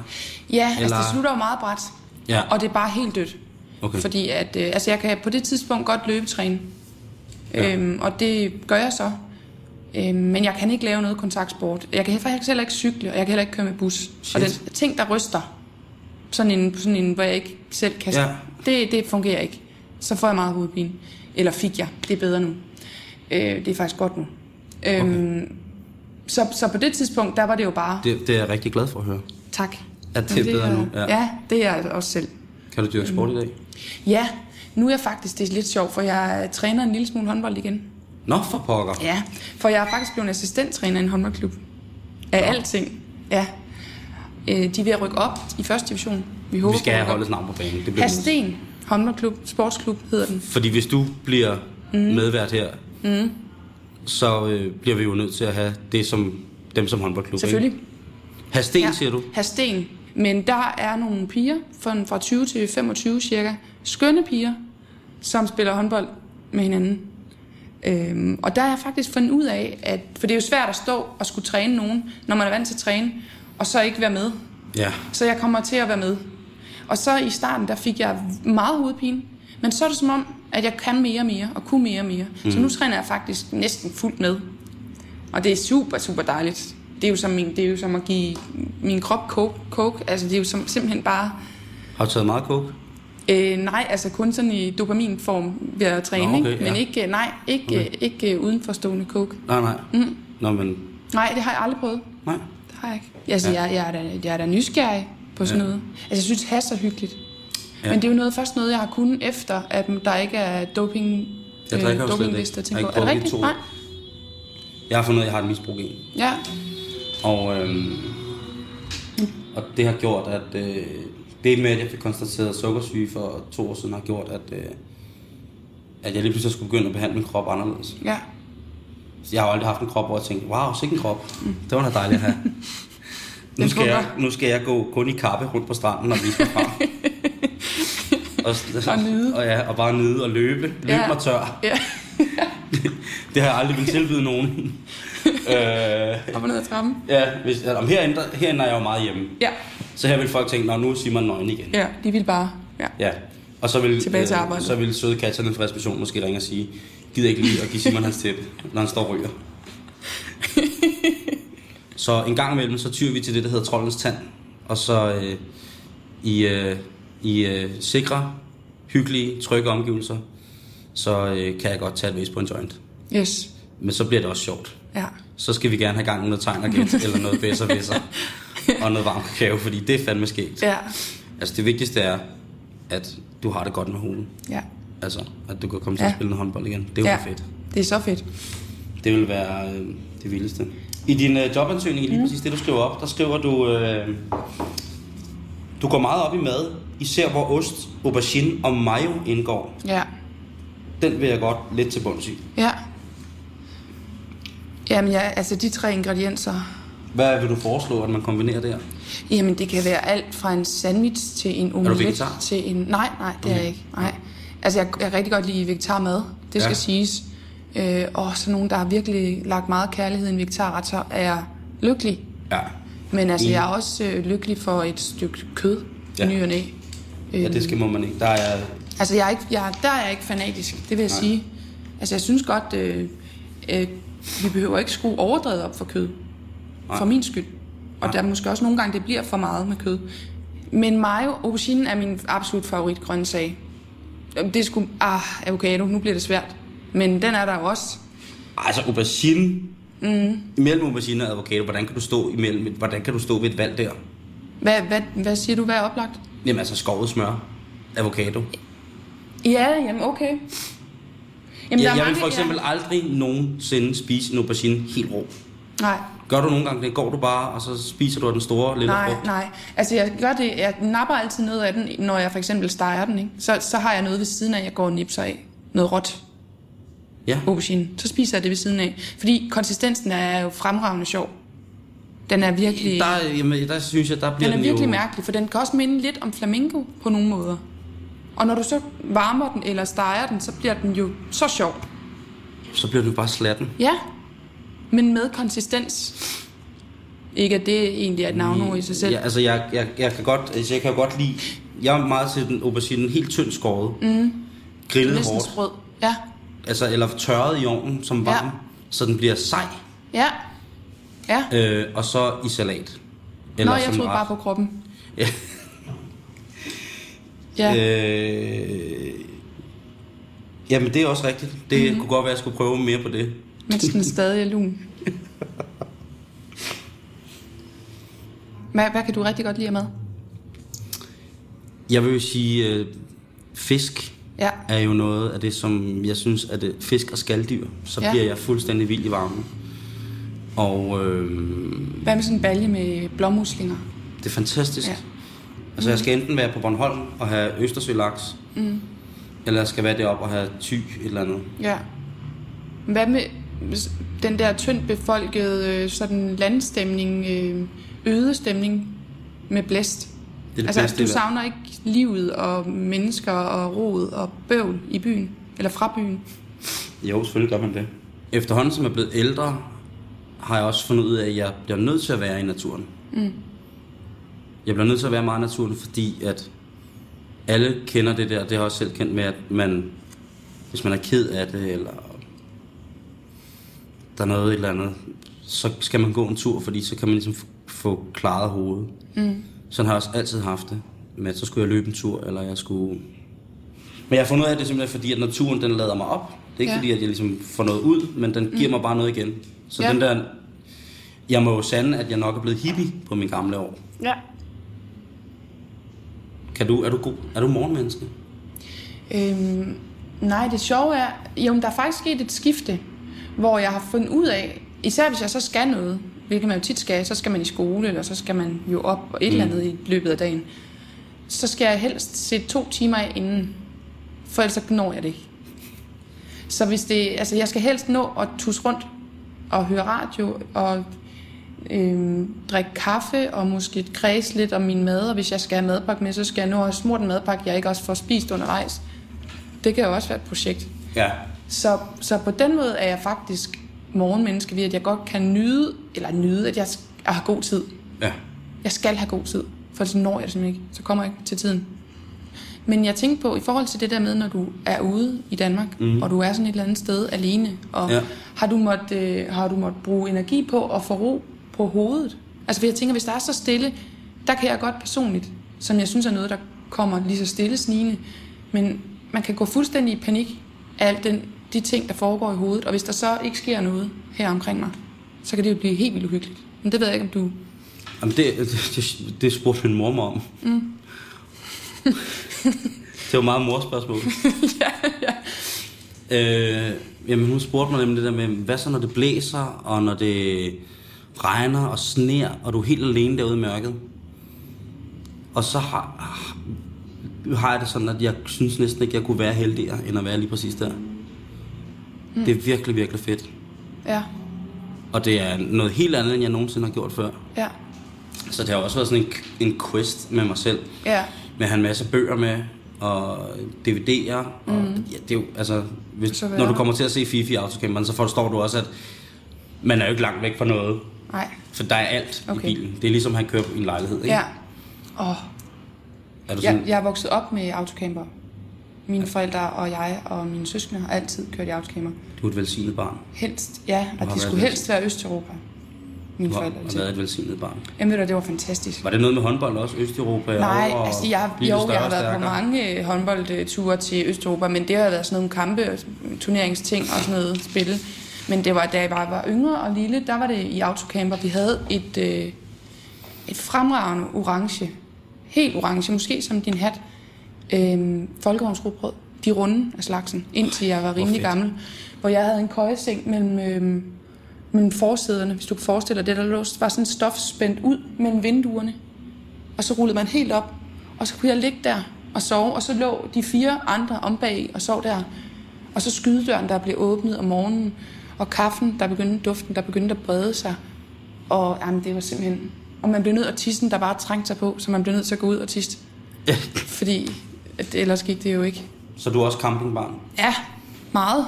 [SPEAKER 2] Ja, Eller... altså
[SPEAKER 3] Eller-
[SPEAKER 2] det slutter jo meget bræt.
[SPEAKER 3] Ja.
[SPEAKER 2] Og det er bare helt dødt.
[SPEAKER 3] Okay.
[SPEAKER 2] Fordi at, øh, altså jeg kan på det tidspunkt godt løbetræne.
[SPEAKER 3] Ja.
[SPEAKER 2] Ja. Øhm, og det gør jeg så. Øhm, men jeg kan ikke lave noget kontaktsport. Jeg kan faktisk heller ikke cykle, og jeg kan heller ikke køre med bus. Shit. Og den ting, der ryster, sådan en, sådan en hvor jeg ikke selv kan...
[SPEAKER 3] Ja.
[SPEAKER 2] Det, det fungerer ikke. Så får jeg meget hovedpine. Eller fik jeg. Det er bedre nu. Øh, det er faktisk godt nu. Øhm, så, så på det tidspunkt, der var det jo bare... Det...
[SPEAKER 3] Det, det er jeg rigtig glad for at høre.
[SPEAKER 2] Tak.
[SPEAKER 3] at det er bedre nu.
[SPEAKER 2] Ja. ja, det er jeg også selv.
[SPEAKER 3] Kan du dyrke sport i dag?
[SPEAKER 2] Ja, nu er jeg faktisk, det er lidt sjovt, for jeg træner en lille smule håndbold igen.
[SPEAKER 3] Nå, for pokker.
[SPEAKER 2] Ja, for jeg er faktisk blevet assistenttræner i en håndboldklub. Af alting. Ja. Øh, De er ved at rykke op i første division. Vi håber
[SPEAKER 3] Vi
[SPEAKER 2] på,
[SPEAKER 3] skal
[SPEAKER 2] at
[SPEAKER 3] have
[SPEAKER 2] rykke op.
[SPEAKER 3] holdets navn på banen. Det bliver nødt
[SPEAKER 2] Hasten håndboldklub, sportsklub hedder den.
[SPEAKER 3] til. Fordi hvis du bliver mm. medvært her, mm. så øh, bliver vi jo nødt til at have det som dem som håndboldklub.
[SPEAKER 2] Selvfølgelig.
[SPEAKER 3] Ikke? Hasten, ja. siger du?
[SPEAKER 2] Hasten. Men der er nogle piger fra, fra 20 til 25 cirka, skønne piger, som spiller håndbold med hinanden. Øhm, og der har jeg faktisk fundet ud af, at, for det er jo svært at stå og skulle træne nogen, når man er vant til at træne, og så ikke være med.
[SPEAKER 3] Ja.
[SPEAKER 2] Så jeg kommer til at være med. Og så i starten, der fik jeg meget hovedpine. Men så er det som om, at jeg kan mere og mere, og kunne mere og mere. Mm. Så nu træner jeg faktisk næsten fuldt med. Og det er super, super dejligt. Det er jo som, min, det er jo som at give min krop coke. coke. Altså, det er jo som, simpelthen bare...
[SPEAKER 3] Har du taget meget coke?
[SPEAKER 2] Øh, nej, altså kun sådan i dopaminform ved at træne,
[SPEAKER 3] Nå, okay,
[SPEAKER 2] ikke? men
[SPEAKER 3] ja.
[SPEAKER 2] ikke, øh, nej, ikke, okay. ikke øh, udenforstående coke.
[SPEAKER 3] Nej, nej. Mm. Nå, men...
[SPEAKER 2] Nej, det har jeg aldrig prøvet.
[SPEAKER 3] Nej.
[SPEAKER 2] Det har jeg ikke. Altså, ja. jeg, jeg, er da, jeg er da nysgerrig på sådan ja. noget. Altså, jeg synes, has er hyggeligt.
[SPEAKER 3] Ja.
[SPEAKER 2] Ja. Men det er jo noget, først noget, jeg har kunnet efter, at der ikke er doping, øh,
[SPEAKER 3] Jeg drikker jo slet
[SPEAKER 2] dopinglister
[SPEAKER 3] ikke.
[SPEAKER 2] til
[SPEAKER 3] Jeg har
[SPEAKER 2] på.
[SPEAKER 3] ikke
[SPEAKER 2] Er det
[SPEAKER 3] drukket i
[SPEAKER 2] rigtigt?
[SPEAKER 3] to år.
[SPEAKER 2] Nej.
[SPEAKER 3] Jeg har fundet ud af, at jeg har et misbrug gen.
[SPEAKER 2] Ja.
[SPEAKER 3] Og, øhm, og det har gjort, at øh, det med, at jeg fik konstateret sukkersyge for to år siden, har gjort, at, øh, at jeg lige pludselig skulle begynde at behandle min krop anderledes.
[SPEAKER 2] ja.
[SPEAKER 3] Så Jeg har jo aldrig haft en krop, hvor jeg tænkte, wow, sikke en krop.
[SPEAKER 2] Mm.
[SPEAKER 3] Det var da dejligt at have. Nu
[SPEAKER 2] Den
[SPEAKER 3] skal, jeg,
[SPEAKER 2] pumper.
[SPEAKER 3] nu skal jeg gå kun i kappe rundt på stranden og vise mig frem. og,
[SPEAKER 2] Og nyde.
[SPEAKER 3] Og, ja, og bare nyde og løbe. Løb ja.
[SPEAKER 2] Ja.
[SPEAKER 3] mig tør.
[SPEAKER 2] ja.
[SPEAKER 3] Det har jeg aldrig ville tilbyde nogen. øh,
[SPEAKER 2] Op og ned ad trappen.
[SPEAKER 3] ja, hvis, om herinde, der- herinde er jeg jo meget hjemme.
[SPEAKER 2] Ja.
[SPEAKER 3] Så her vil folk tænke, "Nå, nu siger man nøgen igen.
[SPEAKER 2] Ja, de vil bare. Ja.
[SPEAKER 3] Ja. Og så vil, øh,
[SPEAKER 2] Tilbage til arbejdet.
[SPEAKER 3] så vil søde Katja, den friske person, måske ringe og sige, gider ikke lige at give Simon hans tæppe, når han står og ryger. så en gang imellem, så tyr vi til det, der hedder troldens tand. Og så øh, i, øh, i øh, sikre, hyggelige, trygge omgivelser, så øh, kan jeg godt tage et væs på en joint.
[SPEAKER 2] Yes.
[SPEAKER 3] Men så bliver det også sjovt.
[SPEAKER 2] Ja.
[SPEAKER 3] Så skal vi gerne have gang i noget tegn og gæt, eller noget bedser bedser, og noget varm kakao, fordi det er fandme skægt.
[SPEAKER 2] Ja.
[SPEAKER 3] Altså det vigtigste er, at du har det godt med hovedet.
[SPEAKER 2] Ja.
[SPEAKER 3] Altså, at du kan komme til ja. at
[SPEAKER 2] Ja.
[SPEAKER 3] spille noget håndbold igen. Det er jo
[SPEAKER 2] ja.
[SPEAKER 3] ja. fedt.
[SPEAKER 2] Det er så fedt.
[SPEAKER 3] Det vil være øh, det vildeste. I din øh, jobansøgning, lige præcis det du skriver op, der skriver du, øh, du går meget op i mad, især hvor ost, aubergine og mayo indgår.
[SPEAKER 2] Ja.
[SPEAKER 3] Den vil jeg godt lidt til bunds i.
[SPEAKER 2] Ja. Jamen ja, altså de tre ingredienser,
[SPEAKER 3] Hvad vil du foreslå, at man kombinerer der?
[SPEAKER 2] Jamen, det kan være alt fra en sandwich til en omelet
[SPEAKER 3] vegetar?
[SPEAKER 2] til en... Nej, nej, det er jeg ikke. Nej. Altså, jeg, jeg kan rigtig godt lide vegetarmad. Det skal
[SPEAKER 3] Ja.
[SPEAKER 2] ja. siges. Øh, og så nogen, der har virkelig lagt meget kærlighed i en vegetarret, så er jeg lykkelig.
[SPEAKER 3] Ja.
[SPEAKER 2] Men altså,
[SPEAKER 3] Enig.
[SPEAKER 2] jeg er også øh, lykkelig for et stykke kød
[SPEAKER 3] Mm. Ja.
[SPEAKER 2] ja. ny og næ. øh,
[SPEAKER 3] ja, det skal må man ikke. Der er,
[SPEAKER 2] Altså, jeg er ikke, jeg, der er jeg ikke fanatisk, det vil jeg Nej. sige. Altså, jeg synes godt, øh, øh, vi behøver ikke skrue overdrevet op for kød. Nej. For min skyld. Og der er måske også nogle gange, det bliver for meget med kød. Men mayo, aubergine er min absolut favorit grøntsag. Jamen, Det er sgu... Ah, avocado, nu bliver det svært. Men den er der jo også.
[SPEAKER 3] altså aubergine, mm. imellem aubergine og avocado, hvordan kan du stå imellem, et- hvordan kan du stå ved et valg der?
[SPEAKER 2] Hvad, hvad, hvad siger du, hvad er oplagt?
[SPEAKER 3] Jamen altså skovet smør, avocado.
[SPEAKER 2] Ja, jamen okay. Jamen,
[SPEAKER 3] Ja, jeg
[SPEAKER 2] mange-
[SPEAKER 3] vil for eksempel aldrig nogensinde spise en aubergine helt rå.
[SPEAKER 2] Ja. Nej,
[SPEAKER 3] Gør du nogle gange det, går du bare, og så spiser du af den store lille
[SPEAKER 2] Nej,
[SPEAKER 3] frugt.
[SPEAKER 2] nej. Altså, jeg gør det. Jeg napper altid noget af den, når jeg for eksempel steger den, ikke? Så, så har jeg noget ved siden af, jeg går og nipser af. Noget råt
[SPEAKER 3] Ja.
[SPEAKER 2] aubergine. Så spiser jeg det ved siden af. Fordi konsistensen er jo fremragende sjov. Den er virkelig... Der,
[SPEAKER 3] Der, jamen, der synes jeg, der bliver
[SPEAKER 2] den er
[SPEAKER 3] den,
[SPEAKER 2] virkelig
[SPEAKER 3] jo...
[SPEAKER 2] mærkelig, for den kan også minde lidt om flamingo på nogle måder. Og når du så varmer den eller steger den, så bliver den jo så sjov.
[SPEAKER 3] Så bliver du bare slatten.
[SPEAKER 2] Ja, men med konsistens. Ikke at det egentlig er et navnord i sig selv.
[SPEAKER 3] Ja, altså, jeg, jeg, jeg, kan godt, altså, jeg kan jo godt lide... Jeg er meget til den aubergine helt tynd skåret. Mm. Grillet
[SPEAKER 2] Næsten
[SPEAKER 3] hårdt.
[SPEAKER 2] sprød. Ja,
[SPEAKER 3] Altså, eller tørret i ovnen som varm,
[SPEAKER 2] Ja.
[SPEAKER 3] så den bliver sej.
[SPEAKER 2] ja, ja.
[SPEAKER 3] Øh, og så i salat.
[SPEAKER 2] Eller Nå, jeg
[SPEAKER 3] som
[SPEAKER 2] troede
[SPEAKER 3] ret.
[SPEAKER 2] bare på kroppen.
[SPEAKER 3] Ja.
[SPEAKER 2] ja. Øh.
[SPEAKER 3] Øh, jamen, det er også rigtigt. Det
[SPEAKER 2] Mhm.
[SPEAKER 3] mm-hmm. kunne godt være, at jeg skulle prøve mere på det.
[SPEAKER 2] Mens den stadig er lun. Hvad, hvad kan du rigtig godt lide med?
[SPEAKER 3] Jeg vil jo sige, øh, fisk
[SPEAKER 2] Ja.
[SPEAKER 3] er jo noget af det, som jeg synes, at øh, fisk og skalddyr, så
[SPEAKER 2] Ja.
[SPEAKER 3] ja. bliver jeg fuldstændig vild i varmen. Og øh,
[SPEAKER 2] Hvad med sådan en balje med blåmuslinger?
[SPEAKER 3] det er fantastisk.
[SPEAKER 2] Ja. Mhm.
[SPEAKER 3] Ja. Altså, jeg skal enten være på Bornholm og have Østersølaks, mm. eller jeg skal være deroppe og have ty et eller andet.
[SPEAKER 2] Ja. Hvad med s- den der tyndt befolkede øh, sådan landstemning, øh, øde stemning med blæst?
[SPEAKER 3] Det er det
[SPEAKER 2] altså,
[SPEAKER 3] bedste i
[SPEAKER 2] du
[SPEAKER 3] verden.
[SPEAKER 2] savner ikke livet og mennesker og rod og bøvl i byen? Eller fra byen?
[SPEAKER 3] Jo, selvfølgelig gør man det. Efterhånden, som jeg er blevet ældre, har jeg også fundet ud af, at jeg bliver nødt til at være i naturen. Mm. Jeg bliver nødt til at være meget i naturen, fordi at alle kender det der, det har jeg også selv kendt med, at man, hvis man er ked af det, eller der er noget et eller andet, så skal man gå en tur, fordi så kan man ligesom f- få klaret hovedet. Mm. Sådan har jeg også altid haft det. Men så skulle jeg løbe en tur, eller jeg skulle men jeg har fundet ud af det simpelthen, fordi at naturen den lader mig op. Det er ikke
[SPEAKER 2] Ja.
[SPEAKER 3] ja. fordi, at jeg ligesom får noget ud, men den giver mm. mig bare noget igen. Så
[SPEAKER 2] Ja.
[SPEAKER 3] ja. den der... Jeg må jo sande, at jeg nok er blevet hippie på mine gamle år.
[SPEAKER 2] Ja.
[SPEAKER 3] Kan du, er du god? Er du morgenmenneske?
[SPEAKER 2] Øhm, nej, det sjove er, jo, men der er faktisk sket et skifte, hvor jeg har fundet ud af, især hvis jeg så skal noget, hvilket man jo tit skal, så skal man i skole, eller så skal man jo op og et mm. eller andet i løbet af dagen, så skal jeg helst sætte to timer af inden, for ellers så når jeg det ikke. Så hvis det, altså jeg skal helst nå at tusse rundt og høre radio og øhm, drikke kaffe og måske kredse lidt om min mad, og hvis jeg skal have madpakke med, så skal jeg nå at smurt en madpakke, jeg ikke også får spist undervejs. Det kan jo også være et projekt.
[SPEAKER 3] Ja.
[SPEAKER 2] Så, så på den måde er jeg faktisk morgenmenneske ved, at jeg godt kan nyde, eller nyde, at jeg sk- at har god tid.
[SPEAKER 3] Ja.
[SPEAKER 2] Jeg skal have god tid, for så når jeg det simpelthen ikke. Så kommer jeg ikke til tiden. Men jeg tænkte på, i forhold til det der med, når du er ude i Danmark, mm. og du er sådan et eller andet sted alene, og ja.
[SPEAKER 3] Ja.
[SPEAKER 2] har, du måttet, øh, har du måttet bruge energi på at få ro på hovedet? Altså, for jeg tænker, hvis der er så stille, der kan jeg godt personligt, som jeg synes er noget, der kommer lige så stille snigende, men man kan gå fuldstændig i panik af alt den, de ting, der foregår i hovedet, og hvis der så ikke sker noget her omkring mig, så kan det jo blive helt vildt uhyggeligt. Men det ved jeg ikke, om du
[SPEAKER 3] Jamen, det, det, det spurgte min mor mig om. Mm. det var meget morspørgsmål. ja, ja. Øh, jamen, hun spurgte mig nemlig det der med, hvad så når det blæser, og når det regner og sner, og du er helt alene derude i mørket? Og så har, har jeg det sådan, at jeg synes næsten ikke, jeg kunne være heldigere, end at være lige præcis der. Mm. Det er virkelig, virkelig fedt.
[SPEAKER 2] Ja,
[SPEAKER 3] Og det er noget helt andet, end jeg nogensinde har gjort før.
[SPEAKER 2] ja,
[SPEAKER 3] Så det har også været sådan en, en quest med mig selv.
[SPEAKER 2] ja,
[SPEAKER 3] Med at have en masse bøger med, og DVD'er. Og, mm. ja, det er jo, altså, hvis,
[SPEAKER 2] Så hvad
[SPEAKER 3] når
[SPEAKER 2] er
[SPEAKER 3] du
[SPEAKER 2] der?
[SPEAKER 3] kommer til at se Fifi i Autocamperen, så forstår du også, at man er jo ikke langt væk fra noget.
[SPEAKER 2] nej,
[SPEAKER 3] For der er alt
[SPEAKER 2] Okay.
[SPEAKER 3] okay. i bilen. Det er ligesom, at han kører i en lejlighed. Ikke?
[SPEAKER 2] ja. Åh,
[SPEAKER 3] Er du sådan,
[SPEAKER 2] jeg, jeg er vokset op med autocamper. Mine forældre og jeg og mine søskende har altid kørt i autocamper.
[SPEAKER 3] Du er et velsignet barn.
[SPEAKER 2] Helst, ja, og
[SPEAKER 3] har
[SPEAKER 2] de
[SPEAKER 3] været
[SPEAKER 2] skulle
[SPEAKER 3] lidt-
[SPEAKER 2] helst være Østeuropa. Mine
[SPEAKER 3] Du har,
[SPEAKER 2] forældre.
[SPEAKER 3] har været et velsignet barn.
[SPEAKER 2] Jamen ved du, det var fantastisk.
[SPEAKER 3] Var det noget med håndbold også? Østeuropa?
[SPEAKER 2] Nej,
[SPEAKER 3] og
[SPEAKER 2] altså jeg,
[SPEAKER 3] øh, blive
[SPEAKER 2] jo,
[SPEAKER 3] større
[SPEAKER 2] jeg har
[SPEAKER 3] og
[SPEAKER 2] været på
[SPEAKER 3] stærkere?
[SPEAKER 2] mange øh, håndboldture til Østeuropa, men det har været sådan nogle kampe, og turneringsting og sådan noget spil. Men det var, da jeg bare var yngre og lille, der var det i autocamper. Vi havde et, øh, et fremragende orange, helt orange, måske som din hat, øh, folkevognsrugbrød. De runde af slagsen, indtil jeg var rimelig
[SPEAKER 3] fedt.
[SPEAKER 2] gammel. Hvor jeg havde en køjeseng mellem, øh, mellem forsæderne, hvis du kan forestille dig det, der lå, var sådan stof spændt ud mellem vinduerne. Og så rullede man helt op, og så kunne jeg ligge der og sove, og så lå de fire andre om bag og sov der. Og så skydedøren, der blev åbnet om morgenen, og kaffen, der begyndte duften, der begyndte at brede sig. Og jamen, det var simpelthen... Og man blev nødt til at tisse, den, der bare trængte sig på, så man blev nødt til at gå ud og tisse. Fordi at ellers gik det jo ikke.
[SPEAKER 3] Så du er også campingbarn?
[SPEAKER 2] Ja, meget.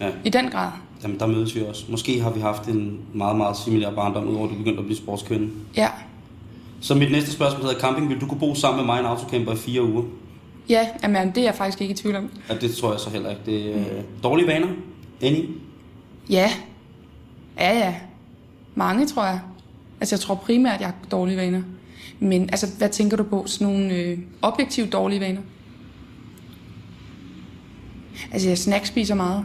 [SPEAKER 3] Ja.
[SPEAKER 2] I den grad.
[SPEAKER 3] Jamen, der mødes vi også. Måske har vi haft en meget, meget similar barndom, udover at du begyndte at blive sportskvinde.
[SPEAKER 2] Ja.
[SPEAKER 3] Så mit næste spørgsmål hedder camping. Vil du kunne bo sammen med mig i en autocamper i fire uger?
[SPEAKER 2] Ja, jamen, det er jeg faktisk ikke i tvivl om.
[SPEAKER 3] Og det tror jeg så heller ikke. Det er øh, dårlige vaner. Any?
[SPEAKER 2] Ja. Ja, ja. Mange, tror jeg. Altså, jeg tror primært, at jeg har dårlige vaner. Men altså, hvad tænker du på? Sådan nogle øh, objektivt dårlige vaner? Altså, jeg snackspiser meget.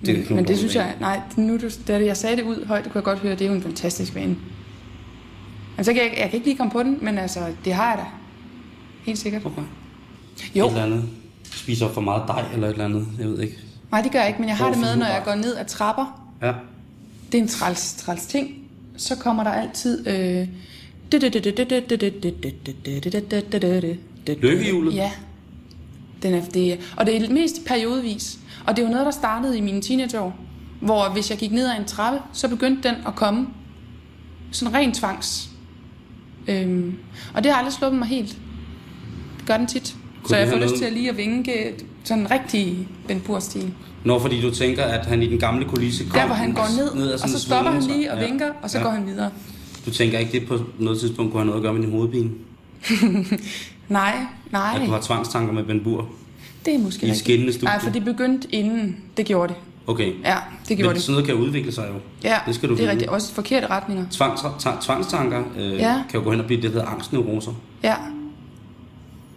[SPEAKER 3] Det er ikke nogen
[SPEAKER 2] Men det
[SPEAKER 3] dårlig
[SPEAKER 2] synes
[SPEAKER 3] vane.
[SPEAKER 2] jeg... Nej, nu, du, da jeg sagde det ud højt, det kunne jeg godt høre, det er jo en fantastisk vane. Altså, jeg, jeg kan ikke lige komme på den, men altså, det har jeg da. helt sikkert.
[SPEAKER 3] Okay. Jo.
[SPEAKER 2] Jo,
[SPEAKER 3] Et eller andet. Spiser for meget dej eller et eller andet. Jeg ved ikke.
[SPEAKER 2] nej, det gør jeg ikke, men jeg har det med, når jeg
[SPEAKER 3] Overfor
[SPEAKER 2] går ned ad trapper.
[SPEAKER 3] Ja.
[SPEAKER 2] Det er en træls, træls ting. Så kommer der altid... Øh,
[SPEAKER 3] Lykkehjulet?
[SPEAKER 2] Ja. Den er, det, er- og det er mest periodevis. Og det er jo noget, der startede i mine teenageår, hvor hvis jeg gik ned ad en trappe, så begyndte den at komme. Sådan ren tvangs. Øhm, og det har aldrig sluppet mig helt. Det gør den tit.
[SPEAKER 3] Kunne
[SPEAKER 2] så
[SPEAKER 3] det
[SPEAKER 2] jeg
[SPEAKER 3] have
[SPEAKER 2] får lyst
[SPEAKER 3] noget-
[SPEAKER 2] til at lige at vinke sådan rigtig Ben Bur-stil.
[SPEAKER 3] Nå, fordi du tænker, at han i den gamle kulisse kom
[SPEAKER 2] Der, hvor han går ned,
[SPEAKER 3] ad
[SPEAKER 2] og
[SPEAKER 3] sådan
[SPEAKER 2] så
[SPEAKER 3] en
[SPEAKER 2] stopper han
[SPEAKER 3] svinge,
[SPEAKER 2] lige og vinker, og så
[SPEAKER 3] ja.
[SPEAKER 2] går han videre.
[SPEAKER 3] Du tænker ikke, det på noget tidspunkt kunne have noget at gøre med din hovedpine?
[SPEAKER 2] Nej,
[SPEAKER 3] At du
[SPEAKER 2] nej,
[SPEAKER 3] har tvangstanker med Ben Bur?
[SPEAKER 2] det er måske
[SPEAKER 3] i et
[SPEAKER 2] rigtigt.
[SPEAKER 3] skinnende studie.
[SPEAKER 2] Nej, for det begyndte inden. Det gjorde det.
[SPEAKER 3] Okay.
[SPEAKER 2] Ja, det gjorde
[SPEAKER 3] Men
[SPEAKER 2] det.
[SPEAKER 3] sådan noget kan jo udvikle sig jo.
[SPEAKER 2] Ja,
[SPEAKER 3] det skal du
[SPEAKER 2] det er
[SPEAKER 3] vide.
[SPEAKER 2] rigtigt. Også forkerte retninger.
[SPEAKER 3] Tvangs, ta- tvangstanker øh,
[SPEAKER 2] Ja.
[SPEAKER 3] kan jo gå hen og blive det, der hedder angstneuroser.
[SPEAKER 2] Ja.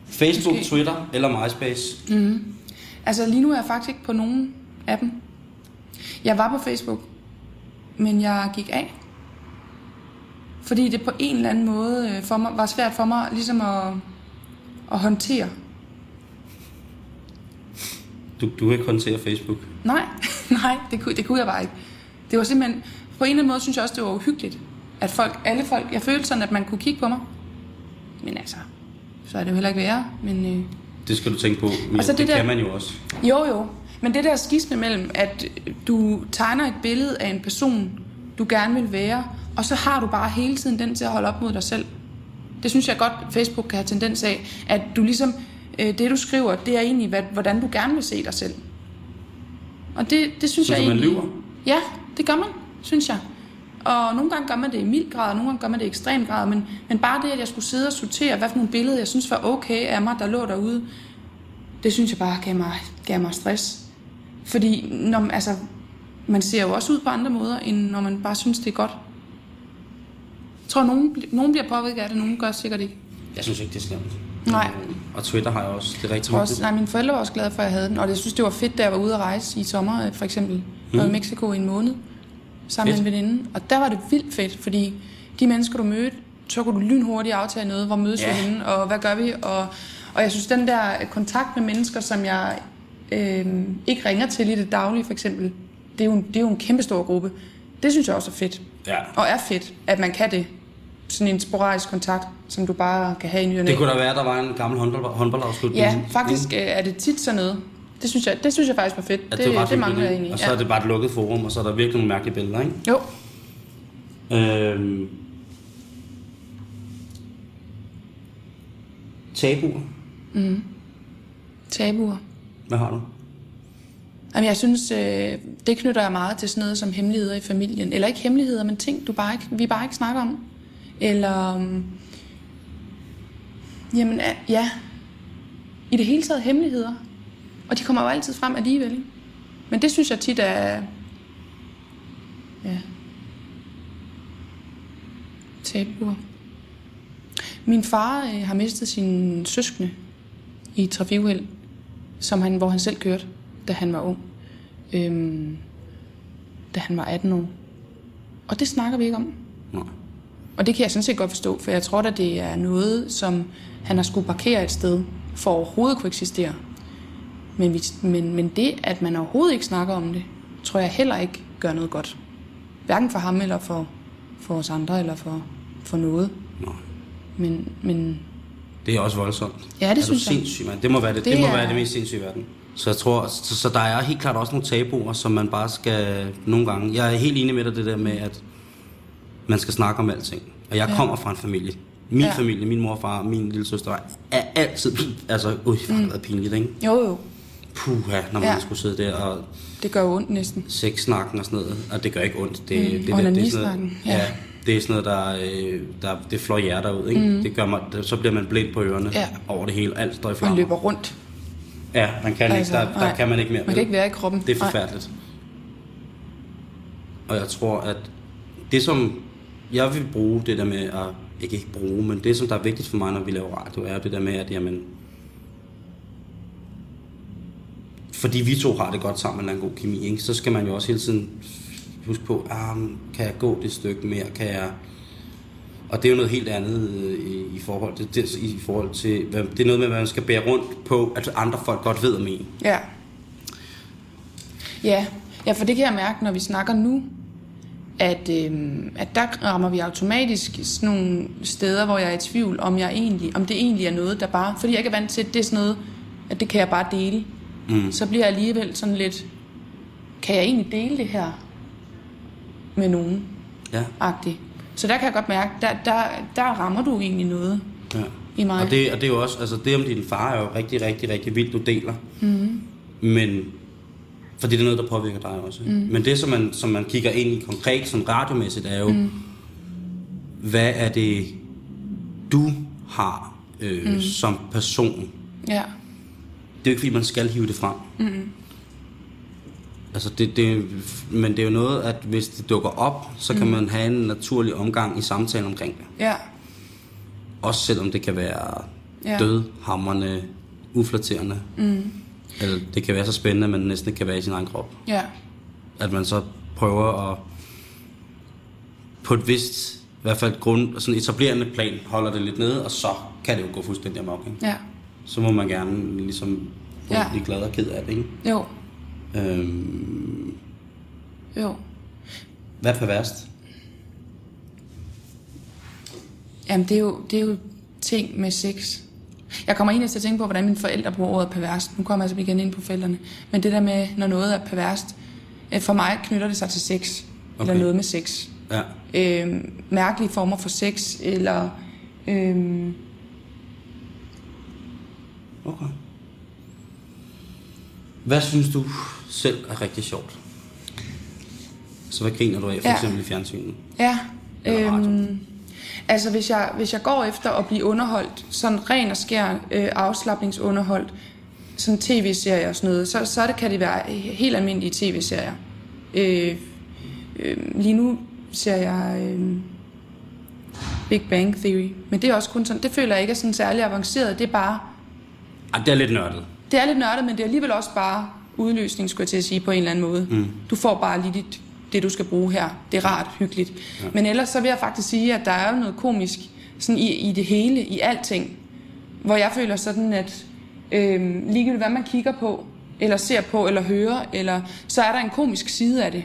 [SPEAKER 3] Facebook,
[SPEAKER 2] Måske.
[SPEAKER 3] Twitter eller MySpace. Mm.
[SPEAKER 2] Altså lige nu er jeg faktisk ikke på nogen af dem. Jeg var på Facebook, men jeg gik af. Fordi det på en eller anden måde øh, for mig, var svært for mig ligesom at, at håndtere.
[SPEAKER 3] Du, du kan ikke håndtere Facebook.
[SPEAKER 2] Nej, nej, det kunne, det kunne jeg bare ikke. Det var simpelthen, på en eller anden måde synes jeg også, det var uhyggeligt. At folk, alle folk, jeg følte sådan, at man kunne kigge på mig. Men altså, så er det jo heller ikke værre. Men, øh,
[SPEAKER 3] Det skal du tænke på. Men
[SPEAKER 2] Og så
[SPEAKER 3] det,
[SPEAKER 2] det
[SPEAKER 3] det
[SPEAKER 2] der-
[SPEAKER 3] kan man jo også.
[SPEAKER 2] Jo, jo. Men det der skisme mellem, at du tegner et billede af en person, du gerne vil være, og så har du bare hele tiden den til at holde op mod dig selv. Det synes jeg godt, Facebook kan have tendens af, at du ligesom, øh, det du skriver, det er egentlig, hvad, hvordan du gerne vil se dig selv. Og det, det synes
[SPEAKER 3] Så
[SPEAKER 2] jeg
[SPEAKER 3] du, man
[SPEAKER 2] egentlig...
[SPEAKER 3] lyver?
[SPEAKER 2] Ja, det gør man, synes jeg. Og nogle gange gør man det i mild grad, og nogle gange gør man det i ekstrem grad, men, men bare det, at jeg skulle sidde og sortere, hvad for nogle billeder, jeg synes var okay af mig, der lå derude, det synes jeg bare gav mig, gav mig stress. Fordi når, man- altså, man ser jo også ud på andre måder, end når man bare synes, det er godt. Jeg tror, nogen, bl- nogen bliver påvirket af det, nogen gør sikkert ikke.
[SPEAKER 3] Jeg synes ikke, det er slemt.
[SPEAKER 2] Nej.
[SPEAKER 3] Øh, Og Twitter har jeg også. Det er rigtig
[SPEAKER 2] Også,
[SPEAKER 3] vigtigt.
[SPEAKER 2] nej, mine forældre var også glade for, at jeg havde den, og jeg synes, det var fedt, da jeg var ude at rejse i sommer, øh, for eksempel. Jeg var i Mexico i en måned, sammen
[SPEAKER 3] Mm. Fedt.
[SPEAKER 2] med en veninde, og der var det vildt fedt, fordi de mennesker, du mødte, så kunne du lynhurtigt aftale noget, hvor mødes
[SPEAKER 3] Ja.
[SPEAKER 2] vi henne, og hvad gør vi, og, og jeg synes, den der øh, kontakt med mennesker, som jeg øh, ikke ringer til i det daglige, for eksempel, det er jo en, det er jo en kæmpe stor gruppe. Det synes jeg også er fedt,
[SPEAKER 3] Ja.
[SPEAKER 2] og er fedt, at man kan det. Sådan en sporadisk kontakt, som du bare kan have i ny og næ.
[SPEAKER 3] Det kunne da være, at der var en gammel håndbold, håndboldafslutning.
[SPEAKER 2] Ja, faktisk øh, er det tit sådan noget. Det synes jeg, det synes jeg faktisk var fedt.
[SPEAKER 3] At
[SPEAKER 2] det, det,
[SPEAKER 3] var
[SPEAKER 2] det
[SPEAKER 3] fedt
[SPEAKER 2] mangler
[SPEAKER 3] med
[SPEAKER 2] jeg egentlig.
[SPEAKER 3] Og så er det bare et lukket forum, og så er der virkelig nogle mærkelige billeder, ikke?
[SPEAKER 2] Jo,
[SPEAKER 3] Øhm, tabuer.
[SPEAKER 2] tabuer.
[SPEAKER 3] Hvad har du?
[SPEAKER 2] Jamen, jeg synes, øh, det knytter jeg meget til sådan noget som hemmeligheder i familien. Eller ikke hemmeligheder, men ting, du bare ikke, vi bare ikke snakker om. Eller... øhm, Jamen, øh, ja. I det hele taget hemmeligheder. Og de kommer jo altid frem alligevel. ikke? Men det synes jeg tit er... Ja. Tabuer. Min far øh, har mistet sine søskende i et trafikuheld, som han, hvor han selv kørte, da han var ung. Øhm, da han var 18 år. Og det snakker vi ikke om.
[SPEAKER 3] Nej.
[SPEAKER 2] Og det kan jeg sådan set godt forstå, for jeg tror da, det er noget, som han har skulle parkere et sted, for overhovedet at kunne eksistere. Men, vi, men, men det, at man overhovedet ikke snakker om det, tror jeg heller ikke gør noget godt. Hverken for ham eller for, for os andre, eller for, for noget.
[SPEAKER 3] Nej.
[SPEAKER 2] Men, men
[SPEAKER 3] Det er også voldsomt.
[SPEAKER 2] Ja, det
[SPEAKER 3] er
[SPEAKER 2] synes
[SPEAKER 3] du
[SPEAKER 2] jeg.
[SPEAKER 3] sindssyg, mand. Det må være det, det,
[SPEAKER 2] Det
[SPEAKER 3] det, må
[SPEAKER 2] er-
[SPEAKER 3] være det mest sindssyge i verden. Så jeg tror, så, så der er helt klart også nogle tabuer, som man bare skal nogle gange... Jeg er helt enig med dig det der med, at man skal snakke om alting. Og jeg ja. kommer fra en familie. Min ja.
[SPEAKER 2] Ja.
[SPEAKER 3] familie, min mor og far, min lille søster er altid... Altså, ui, det har været pinligt, ikke?
[SPEAKER 2] jo jo,
[SPEAKER 3] Puha, når man ja.
[SPEAKER 2] Mm. Ja.
[SPEAKER 3] skulle sidde der og
[SPEAKER 2] det gør jo ondt næsten.
[SPEAKER 3] sexsnakken og sådan noget, og det gør ikke ondt. Det, mm, det,
[SPEAKER 2] og
[SPEAKER 3] det, det er sådan noget,
[SPEAKER 2] onanisnakken,
[SPEAKER 3] ja.
[SPEAKER 2] ja.
[SPEAKER 3] ja. det er sådan noget, der, øh, der det flår hjerter ud, ikke? Mm. Det gør mig, det, så bliver man blind på ørerne
[SPEAKER 2] Ja.
[SPEAKER 3] over det hele, alt står i
[SPEAKER 2] Man
[SPEAKER 3] flammer.
[SPEAKER 2] løber rundt.
[SPEAKER 3] Ja, man kan altså,
[SPEAKER 2] Altså,
[SPEAKER 3] ikke, der, der
[SPEAKER 2] nej.
[SPEAKER 3] kan man ikke mere.
[SPEAKER 2] Man kan ikke være i kroppen.
[SPEAKER 3] Det er
[SPEAKER 2] Nej.
[SPEAKER 3] forfærdeligt. Og jeg tror, at det som jeg vil bruge det der med at, ikke, ikke bruge, men det som der er vigtigt for mig, når vi laver radio, er det der med, at jamen, fordi vi to har det godt sammen, og en god kemi, ikke, så skal man jo også hele tiden huske på, ah, men kan jeg gå det stykke mere, kan jeg... Og det er jo noget helt andet øh, i, i forhold til, det, i forhold til hvad, det er noget med, hvad man skal bære rundt på, at andre folk godt ved om en.
[SPEAKER 2] Ja. Ja, ja for det kan jeg mærke, når vi snakker nu, at, øhm, at der rammer vi automatisk sådan nogle steder, hvor jeg er i tvivl, om, jeg egentlig, om det egentlig er noget, der bare... Fordi jeg ikke er vant til, at det er sådan noget, at det kan jeg bare dele. Mm. Så bliver jeg alligevel sådan lidt... Kan jeg egentlig dele det her med nogen?
[SPEAKER 3] Ja.
[SPEAKER 2] -agtig. Så der kan jeg godt mærke, der, der, der rammer du egentlig noget
[SPEAKER 3] ja.
[SPEAKER 2] i mig.
[SPEAKER 3] Og det, og det er jo også, altså det om din far er jo rigtig, rigtig, rigtig vildt, du deler.
[SPEAKER 2] Mhm.
[SPEAKER 3] Mm. Men, fordi det er noget, der påvirker dig også. Mm.
[SPEAKER 2] Mhm.
[SPEAKER 3] Men det, som man, som man kigger ind i konkret, sådan radiomæssigt, er jo,
[SPEAKER 2] Mhm.
[SPEAKER 3] mm. hvad er det, du har øh,
[SPEAKER 2] Mhm.
[SPEAKER 3] mm. som person?
[SPEAKER 2] Ja,
[SPEAKER 3] Det er jo ikke, fordi man skal hive det frem. Mm.
[SPEAKER 2] Mhm.
[SPEAKER 3] Altså det, det, men det er jo noget, at hvis det dukker op, så
[SPEAKER 2] Mhm.
[SPEAKER 3] kan man have en naturlig omgang i samtalen omkring det.
[SPEAKER 2] ja,
[SPEAKER 3] Også selvom det kan være
[SPEAKER 2] Ja.
[SPEAKER 3] ja. dødhammerne, uflaterende. Mm. Eller det kan være så spændende, at man næsten ikke kan være i sin egen krop.
[SPEAKER 2] ja,
[SPEAKER 3] At man så prøver at på et vist, i hvert fald grund, sådan etablerende plan, holder det lidt nede, og så kan det jo gå fuldstændig amok. Ikke?
[SPEAKER 2] ja.
[SPEAKER 3] Så må man gerne ligesom
[SPEAKER 2] Ja.
[SPEAKER 3] ja. blive glad og ked af det. Ikke?
[SPEAKER 2] Jo,
[SPEAKER 3] Øhm,
[SPEAKER 2] jo.
[SPEAKER 3] hvad er perverst?
[SPEAKER 2] Jamen, det er, jo, det er jo ting med sex. Jeg kommer egentlig til at tænke på, hvordan mine forældre bruger ordet perverst. Nu kommer jeg altså igen ind på forældrene. Men det der med, når noget er perverst, øh, for mig knytter det sig til sex. Okay. Eller
[SPEAKER 3] Okay.
[SPEAKER 2] noget med sex.
[SPEAKER 3] Ja.
[SPEAKER 2] Øh, mærkelige former for sex, eller... Øh,
[SPEAKER 3] Okay. Hvad synes du selv er rigtig sjovt? Så hvad griner du af, for
[SPEAKER 2] Ja.
[SPEAKER 3] ja. eksempel i fjernsynet?
[SPEAKER 2] Ja.
[SPEAKER 3] Eller radio.
[SPEAKER 2] Øhm, altså, hvis jeg, hvis jeg går efter at blive underholdt, sådan ren og skær øh, afslappningsunderholdt, sådan tv-serier og sådan noget, så, så det, kan det være helt almindelige tv-serier. Øh, øh, lige nu ser jeg øh, Big Bang Theory, men det er også kun sådan, det føler jeg ikke er sådan særlig avanceret, det er bare,
[SPEAKER 3] Ej, det er lidt nørdet.
[SPEAKER 2] det er lidt nørdet, men det er alligevel også bare udløsning, skulle jeg til at sige, på en eller anden måde. Mm. Du får bare lige dit, det, du skal bruge her. Det er rart, hyggeligt. Ja. Men ellers så vil jeg faktisk sige, at der er jo noget komisk sådan i, i det hele, i alting. Hvor jeg føler sådan, at øhm, ligegyldigt hvad man kigger på, eller ser på, eller hører, eller, så er der en komisk side af det.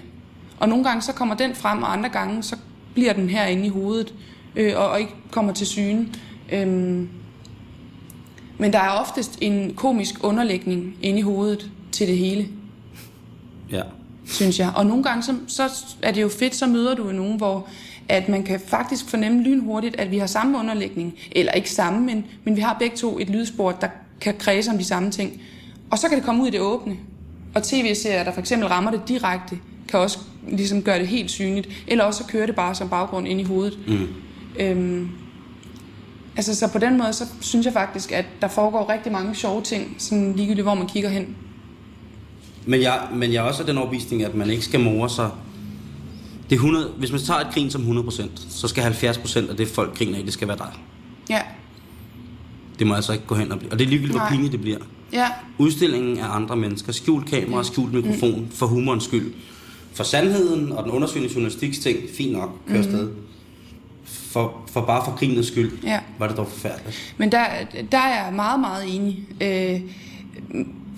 [SPEAKER 2] Og nogle gange så kommer den frem, og andre gange så bliver den herinde i hovedet, øh, og, og ikke kommer til syne. Øhm, men der er oftest en komisk underlægning inde i hovedet til det hele,
[SPEAKER 3] Ja.
[SPEAKER 2] synes jeg. Og nogle gange, så, så er det jo fedt, så møder du jo nogen, hvor at man kan faktisk fornemme lynhurtigt, at vi har samme underlægning. Eller ikke samme, men, men vi har begge to et lydspor, der kan kredse om de samme ting. Og så kan det komme ud i det åbne. Og tv-serier, der for eksempel rammer det direkte, kan også ligesom gøre det helt synligt. Eller også så kører det bare som baggrund ind i hovedet. Mm. Øhm, altså, så på den måde, så synes jeg faktisk, at der foregår rigtig mange sjove ting, sådan ligegyldigt, hvor man kigger hen.
[SPEAKER 3] Men jeg, men jeg er også af den overbevisning, at man ikke skal more sig. Det er 100, hvis man tager et grin som 100%, så skal 70% af det, folk griner af, det skal være dig.
[SPEAKER 2] Ja,
[SPEAKER 3] Det må altså ikke gå hen og blive. Og det er ligegyldigt, hvor
[SPEAKER 2] Nej.
[SPEAKER 3] pinligt det bliver.
[SPEAKER 2] ja,
[SPEAKER 3] Udstillingen af andre mennesker, skjult kamera, skjult mikrofon, mm. for humorens skyld. For sandheden og den undersøgende journalistiks ting, fint nok, kør afsted. For, for bare for grinets skyld,
[SPEAKER 2] Ja.
[SPEAKER 3] var det dog forfærdeligt.
[SPEAKER 2] Men der, der er jeg meget, meget enig. Øh,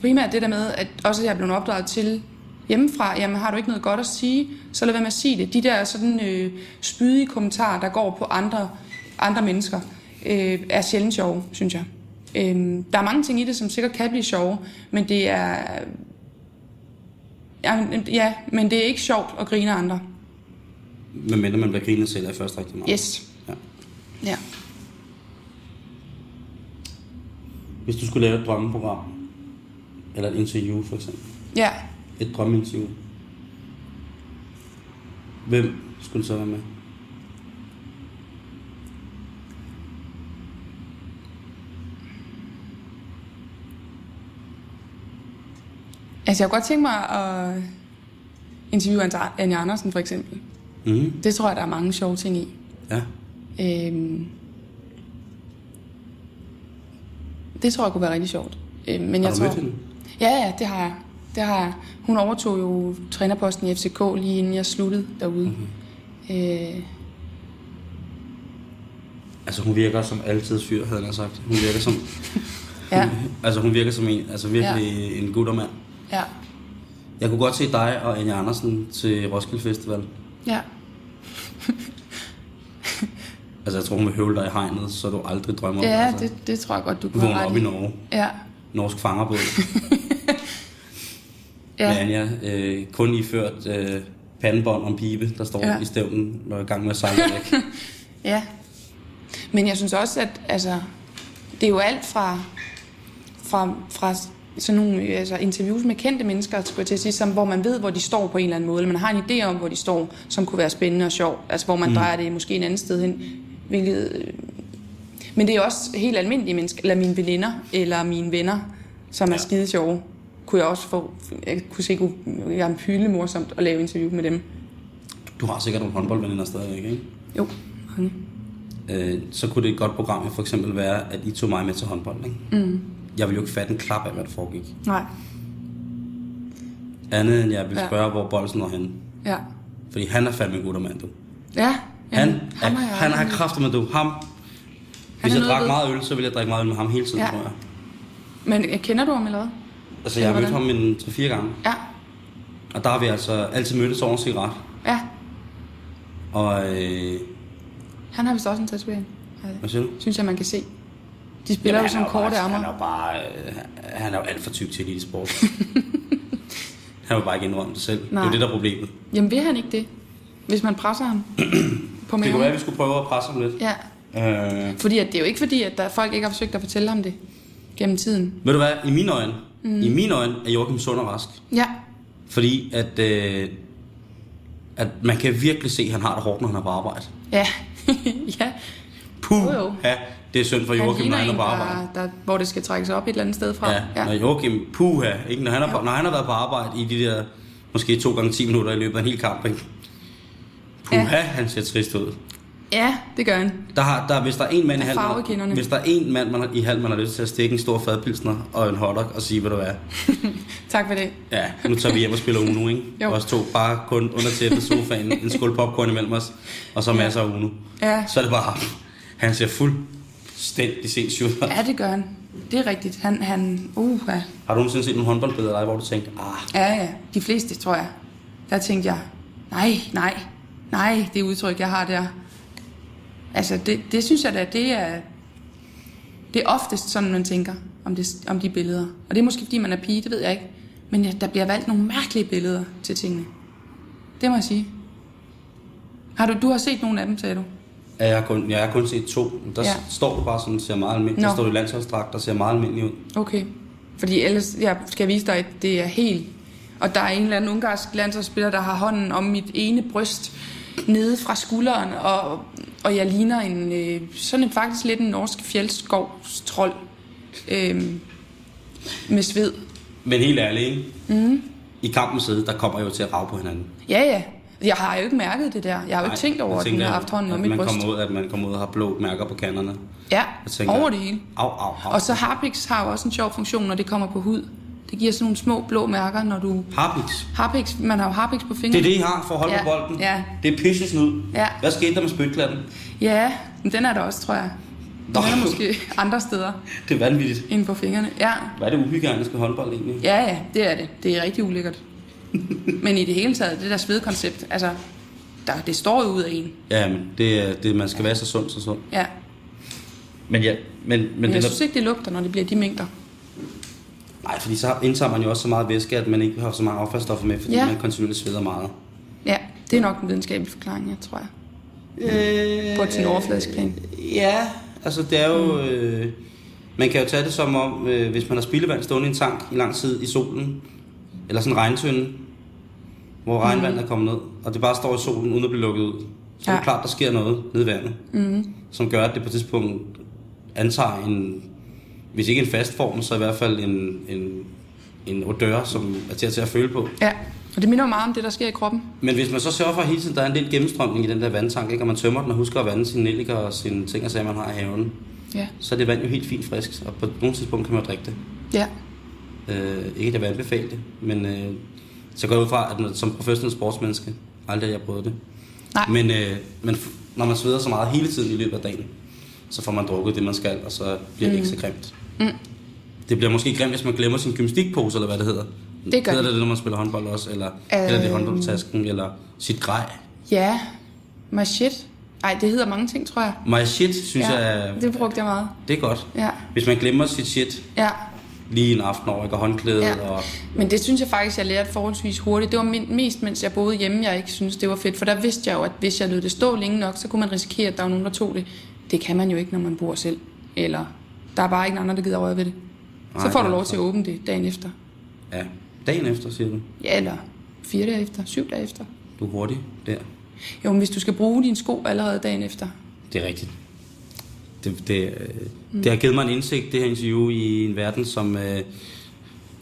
[SPEAKER 2] primært det der med, at også jeg er blevet opdraget til hjemmefra, jamen har du ikke noget godt at sige, så lad være med at sige det. De der sådan øh, spydige kommentarer, der går på andre, andre mennesker, øh, er sjældent sjove, synes jeg. Øh, der er mange ting i det, som sikkert kan blive sjove, men det er... Ja, men- Ja, men det er ikke sjovt at grine af andre.
[SPEAKER 3] Men mindre man bliver grinet selv af først rigtig meget.
[SPEAKER 2] Yes.
[SPEAKER 3] Ja.
[SPEAKER 2] Ja.
[SPEAKER 3] Hvis du skulle lave et drømmeprogram, eller et interview for eksempel,
[SPEAKER 2] Ja.
[SPEAKER 3] et drømmeinterview, hvem skulle så være med?
[SPEAKER 2] Altså, jeg kunne godt tænke mig at interviewe Anja- Anja Andersen, for eksempel.
[SPEAKER 3] Mm.
[SPEAKER 2] Det tror jeg, der er mange sjove ting i.
[SPEAKER 3] Ja.
[SPEAKER 2] Øhm, det tror jeg kunne være rigtig sjovt. Øhm, men
[SPEAKER 3] Har
[SPEAKER 2] jeg
[SPEAKER 3] du
[SPEAKER 2] tror...
[SPEAKER 3] mødt hende?
[SPEAKER 2] Ja, ja, det har jeg. Det har jeg. Hun overtog jo trænerposten
[SPEAKER 3] Mhm.
[SPEAKER 2] i FCK lige inden jeg sluttede derude. Mm-hmm. Øh,
[SPEAKER 3] Altså hun virker som altid fyr, havde han sagt. Hun virker som...
[SPEAKER 2] Ja,
[SPEAKER 3] altså hun virker som en, altså virkelig ja. en guttermand.
[SPEAKER 2] ja,
[SPEAKER 3] Jeg kunne godt se dig og Anja Andersen til Roskilde Festival.
[SPEAKER 2] ja.
[SPEAKER 3] Altså jeg tror hun vil høvle dig i hegnet, så du aldrig drømmer om
[SPEAKER 2] Ja,
[SPEAKER 3] altså,
[SPEAKER 2] det, det tror jeg godt, du
[SPEAKER 3] Du
[SPEAKER 2] kunne
[SPEAKER 3] vågner
[SPEAKER 2] have
[SPEAKER 3] op
[SPEAKER 2] ret
[SPEAKER 3] i
[SPEAKER 2] i.
[SPEAKER 3] Norge.
[SPEAKER 2] Ja,
[SPEAKER 3] Norsk fangerbåd. ja. Med
[SPEAKER 2] ja,
[SPEAKER 3] Anja. Øh, kun iført øh, pandebånd om pibe, der står
[SPEAKER 2] Ja.
[SPEAKER 3] ja. i stævnen, når jeg er i gang med at sejle væk.
[SPEAKER 2] ja. Men jeg synes også, at altså, det er jo alt fra, fra, fra sådan nogle øh, altså, interviews med kendte mennesker, skulle jeg til at sige, som, hvor man ved, hvor de står på en eller anden måde, eller man har en idé om, hvor de står, som kunne være spændende og sjov, altså hvor man mm. drejer det måske en anden sted hen, hvilket... øh, Men det er også helt almindelige mennesker, eller mine veninder, eller mine venner, som er
[SPEAKER 3] Ja.
[SPEAKER 2] skide sjove, kunne jeg også få... Jeg kunne se, kunne jeg er en hylde morsomt at lave interview med dem.
[SPEAKER 3] Du har sikkert nogle håndboldveninder stadigvæk, ikke?
[SPEAKER 2] Jo, mange.
[SPEAKER 3] Øh, så kunne det et godt program jo for eksempel være, at I tog mig med til håndbold, ikke? Mm. Jeg ville jo ikke fatte en klap af, hvad der foregik.
[SPEAKER 2] Nej,
[SPEAKER 3] Andet end jeg ville
[SPEAKER 2] Ja.
[SPEAKER 3] spørge, ja. hvor Bolsen er henne.
[SPEAKER 2] ja.
[SPEAKER 3] Fordi han er fandme en gutter mand, du.
[SPEAKER 2] Ja,
[SPEAKER 3] Han,
[SPEAKER 2] jamen,
[SPEAKER 3] er,
[SPEAKER 2] ham har jeg
[SPEAKER 3] han
[SPEAKER 2] aldrig
[SPEAKER 3] har kræfter med du. Ham. Hvis
[SPEAKER 2] er
[SPEAKER 3] jeg
[SPEAKER 2] noget
[SPEAKER 3] drak
[SPEAKER 2] ved.
[SPEAKER 3] meget øl, så ville jeg drikke meget øl med ham hele tiden,
[SPEAKER 2] Ja.
[SPEAKER 3] ja. tror jeg.
[SPEAKER 2] mødt. Men øh, kender du ham eller hvad?
[SPEAKER 3] Altså, jeg har mødt
[SPEAKER 2] Hvordan?
[SPEAKER 3] ham en 3-4 gange.
[SPEAKER 2] Ja,
[SPEAKER 3] Og der har vi altså altid mødtes over en cigaret.
[SPEAKER 2] ja.
[SPEAKER 3] Og øh,
[SPEAKER 2] Han har vist også en tatovering. Ja,
[SPEAKER 3] hvad siger du?
[SPEAKER 2] Synes jeg, man kan se. De spiller jo
[SPEAKER 3] han er
[SPEAKER 2] som
[SPEAKER 3] jo
[SPEAKER 2] korte
[SPEAKER 3] bare- Han er
[SPEAKER 2] armer.
[SPEAKER 3] jo bare, øh, han er jo alt for tyk til elitesport. han vil bare ikke indrømme det selv. Det er
[SPEAKER 2] Nej.
[SPEAKER 3] jo det, der er problemet.
[SPEAKER 2] Jamen vil han ikke det? Hvis man presser ham på
[SPEAKER 3] Det kunne være, at
[SPEAKER 2] maven?
[SPEAKER 3] vi skulle prøve at presse ham lidt.
[SPEAKER 2] Ja,
[SPEAKER 3] Øh,
[SPEAKER 2] fordi at det er jo ikke fordi, at der folk ikke har forsøgt at fortælle ham det gennem tiden.
[SPEAKER 3] ved du hvad? I mine øjne, mm. i mine øjne er Joachim sund og rask.
[SPEAKER 2] Ja,
[SPEAKER 3] Fordi at, øh, at man kan virkelig se, at han har det hårdt, når han er på arbejde.
[SPEAKER 2] ja, ja.
[SPEAKER 3] Puh,
[SPEAKER 2] Jo, jo.
[SPEAKER 3] ja, det er synd for Joachim, når han er på arbejde.
[SPEAKER 2] der, der, hvor det skal trækkes op et eller andet sted fra.
[SPEAKER 3] Ja, når Joachim, puha, ikke? Når, han er på, når han har været på arbejde i de der måske to gange 10 minutter i løbet af en hel kamp, ikke? Puha, ja. han ser trist ud.
[SPEAKER 2] ja det gør han.
[SPEAKER 3] Der har, der, hvis der er en mand i
[SPEAKER 2] Der er
[SPEAKER 3] halv,
[SPEAKER 2] farvekinderne.
[SPEAKER 3] hvis der er en mand man har, i halv, man har lyst til at stikke en stor fadpilsner og en hotdog og sige, hvad du er.
[SPEAKER 2] Tak for det.
[SPEAKER 3] Ja, nu tager vi hjem og spiller Uno, ikke?
[SPEAKER 2] Jo.
[SPEAKER 3] Os to bare kun under tæppet sofaen, en skål popcorn imellem os, og så masser af Uno.
[SPEAKER 2] Ja.
[SPEAKER 3] Så er det bare ham. Han ser fuldstændig sindssyg ud.
[SPEAKER 2] Ja, det gør han. Det er rigtigt. Han, han, uh, ja.
[SPEAKER 3] Har du nogensinde set nogle håndboldbilleder af dig, hvor du tænkte, ah,
[SPEAKER 2] Ja, ja. De fleste, tror jeg. Der tænkte jeg, nej, nej, nej, det udtryk, jeg har der. Altså, det, det synes jeg da, det er, det er oftest sådan, man tænker om, det, om de billeder. Og det er måske, fordi man er pige, det ved jeg ikke. Men ja, der bliver valgt nogle mærkelige billeder til tingene. Det må jeg sige. Har du, du har set nogle af dem, sagde du?
[SPEAKER 3] Ja, jeg har kun, jeg har kun set to. Der
[SPEAKER 2] Ja.
[SPEAKER 3] ja. står du bare sådan, ser meget almindelig.
[SPEAKER 2] Nå.
[SPEAKER 3] Der står du i landsholdsdragt, der ser meget almindelig ud.
[SPEAKER 2] Okay. Fordi ellers, jeg skal vise dig, at det er helt... Og der er en eller anden ungarsk landsholdsspiller, der har hånden om mit ene bryst nede fra skulderen, og, og jeg ligner en, øh, sådan en, faktisk lidt en norsk fjeldskovstrold øh, med sved.
[SPEAKER 3] Men helt ærligt, ikke? Mm. I kampens side, der kommer I jo til at rave på hinanden.
[SPEAKER 2] Ja, ja. Mhm. Jeg har jo ikke mærket det der. Jeg har jo ikke tænkt over,
[SPEAKER 3] jeg
[SPEAKER 2] at den
[SPEAKER 3] tænker,
[SPEAKER 2] har haft hånden om
[SPEAKER 3] at
[SPEAKER 2] mit
[SPEAKER 3] man
[SPEAKER 2] bryst.
[SPEAKER 3] kommer ud, At man kommer ud og har blå mærker på kanterne.
[SPEAKER 2] Ja,
[SPEAKER 3] Jeg tænker,
[SPEAKER 2] over det hele.
[SPEAKER 3] Au, au, au.
[SPEAKER 2] Og så Harpix har jo også en sjov funktion, når det kommer på hud. Det giver sådan nogle små blå mærker, når du...
[SPEAKER 3] Harpiks.
[SPEAKER 2] Harpix, man har jo harpix på fingrene.
[SPEAKER 3] Det er det, I har for at holde
[SPEAKER 2] Ja.
[SPEAKER 3] ja. på bolden.
[SPEAKER 2] Ja.
[SPEAKER 3] Det er pissesnud.
[SPEAKER 2] Ja.
[SPEAKER 3] Hvad skete der med spytklatten?
[SPEAKER 2] Ja, men den er der også, tror jeg. Den
[SPEAKER 3] Nå.
[SPEAKER 2] er der måske andre steder
[SPEAKER 3] Det er vanvittigt.
[SPEAKER 2] end på fingrene. Ja.
[SPEAKER 3] Hvad er det uhygiejniske håndbold egentlig?
[SPEAKER 2] ja, ja, det er det. Det er rigtig ulækkert. Men i det hele taget, det der svedkoncept, altså, der, det står jo ud af en.
[SPEAKER 3] Ja, men det, er- det, man skal være så sund, så sund.
[SPEAKER 2] Ja.
[SPEAKER 3] Men ja, men, men,
[SPEAKER 2] Men jeg
[SPEAKER 3] det, der,
[SPEAKER 2] synes ikke, det lugter, når det bliver de mængder.
[SPEAKER 3] Nej, fordi så indtager man jo også så meget væske, at man ikke har så mange affaldsstoffer med, fordi
[SPEAKER 2] Ja.
[SPEAKER 3] ja. man kontinuerligt sveder meget.
[SPEAKER 2] Ja, det er nok den videnskabelige forklaring, jeg tror jeg.
[SPEAKER 3] Øh,
[SPEAKER 2] På et sådan overfladisk plan.
[SPEAKER 3] Ja, altså det er jo... Øh, man kan jo tage det som om, øh, hvis man har spildevand stående i en tank i lang tid i solen, eller sådan en regntønde,
[SPEAKER 2] Mm.
[SPEAKER 3] hvor regnvandet er kommet ned, og det bare står i solen uden at blive lukket ud. Så ja. er
[SPEAKER 2] Ja.
[SPEAKER 3] det klart, der sker noget nede i vandet, mm. som gør, at det på et tidspunkt antager en, hvis ikke en fast form, så i hvert fald en, en, en odør, som er til at, til at føle på.
[SPEAKER 2] Ja, og det minder jo meget om det, der sker i kroppen.
[SPEAKER 3] Men hvis man så sørger for at hele tiden, der er en del gennemstrømning i den der vandtank, ikke? og man tømmer den og husker at vande sine nelliker og sine ting og sager, man har i haven,
[SPEAKER 2] Ja.
[SPEAKER 3] så er det vand jo helt fint frisk, og på nogle tidspunkt kan man jo drikke det.
[SPEAKER 2] Ja.
[SPEAKER 3] Øh, ikke at jeg vil anbefale det, men øh, så går jeg ud fra, at man, som professionel sportsmenneske, aldrig har jeg prøvet det.
[SPEAKER 2] Nej.
[SPEAKER 3] Men, øh, men f- når man sveder så meget hele tiden i løbet af dagen, så får man drukket det, man skal, og så bliver mm. det ikke så grimt. Mm. Det bliver måske grimt, hvis man glemmer sin gymnastikpose, eller hvad det hedder.
[SPEAKER 2] Det gør
[SPEAKER 3] hedder
[SPEAKER 2] det.
[SPEAKER 3] det, når man spiller håndbold også, eller, øh... eller det er håndboldtasken, eller sit grej.
[SPEAKER 2] Ja, my shit. Ej, det hedder mange ting, tror jeg.
[SPEAKER 3] My shit, synes
[SPEAKER 2] ja,
[SPEAKER 3] ja. jeg,
[SPEAKER 2] det brugte jeg meget.
[SPEAKER 3] det er godt.
[SPEAKER 2] Ja.
[SPEAKER 3] Hvis man glemmer sit shit
[SPEAKER 2] Ja,
[SPEAKER 3] lige en aften over, ikke? Og håndklædet, ja. og
[SPEAKER 2] Men det synes jeg faktisk, jeg lærte forholdsvis hurtigt. Det var min, mest, mens jeg boede hjemme, jeg ikke synes det var fedt. For der vidste jeg jo, at hvis jeg lød det stå længe nok, så kunne man risikere, at der var nogen, der tog det. Det kan man jo ikke, når man bor selv. Eller der er bare ikke nogen andre, der gider røre ved det.
[SPEAKER 3] Nej,
[SPEAKER 2] så får du
[SPEAKER 3] det er altså-
[SPEAKER 2] lov til at åbne det dagen efter.
[SPEAKER 3] ja, dagen efter, siger du.
[SPEAKER 2] Ja, eller fire dage efter, syv dage efter.
[SPEAKER 3] Du er hurtig der.
[SPEAKER 2] Jo, men hvis du skal bruge dine sko allerede dagen efter.
[SPEAKER 3] Det er rigtigt. Det, det, øh,
[SPEAKER 2] Mm.
[SPEAKER 3] det har givet mig en indsigt, det her interview, i en verden, som øh,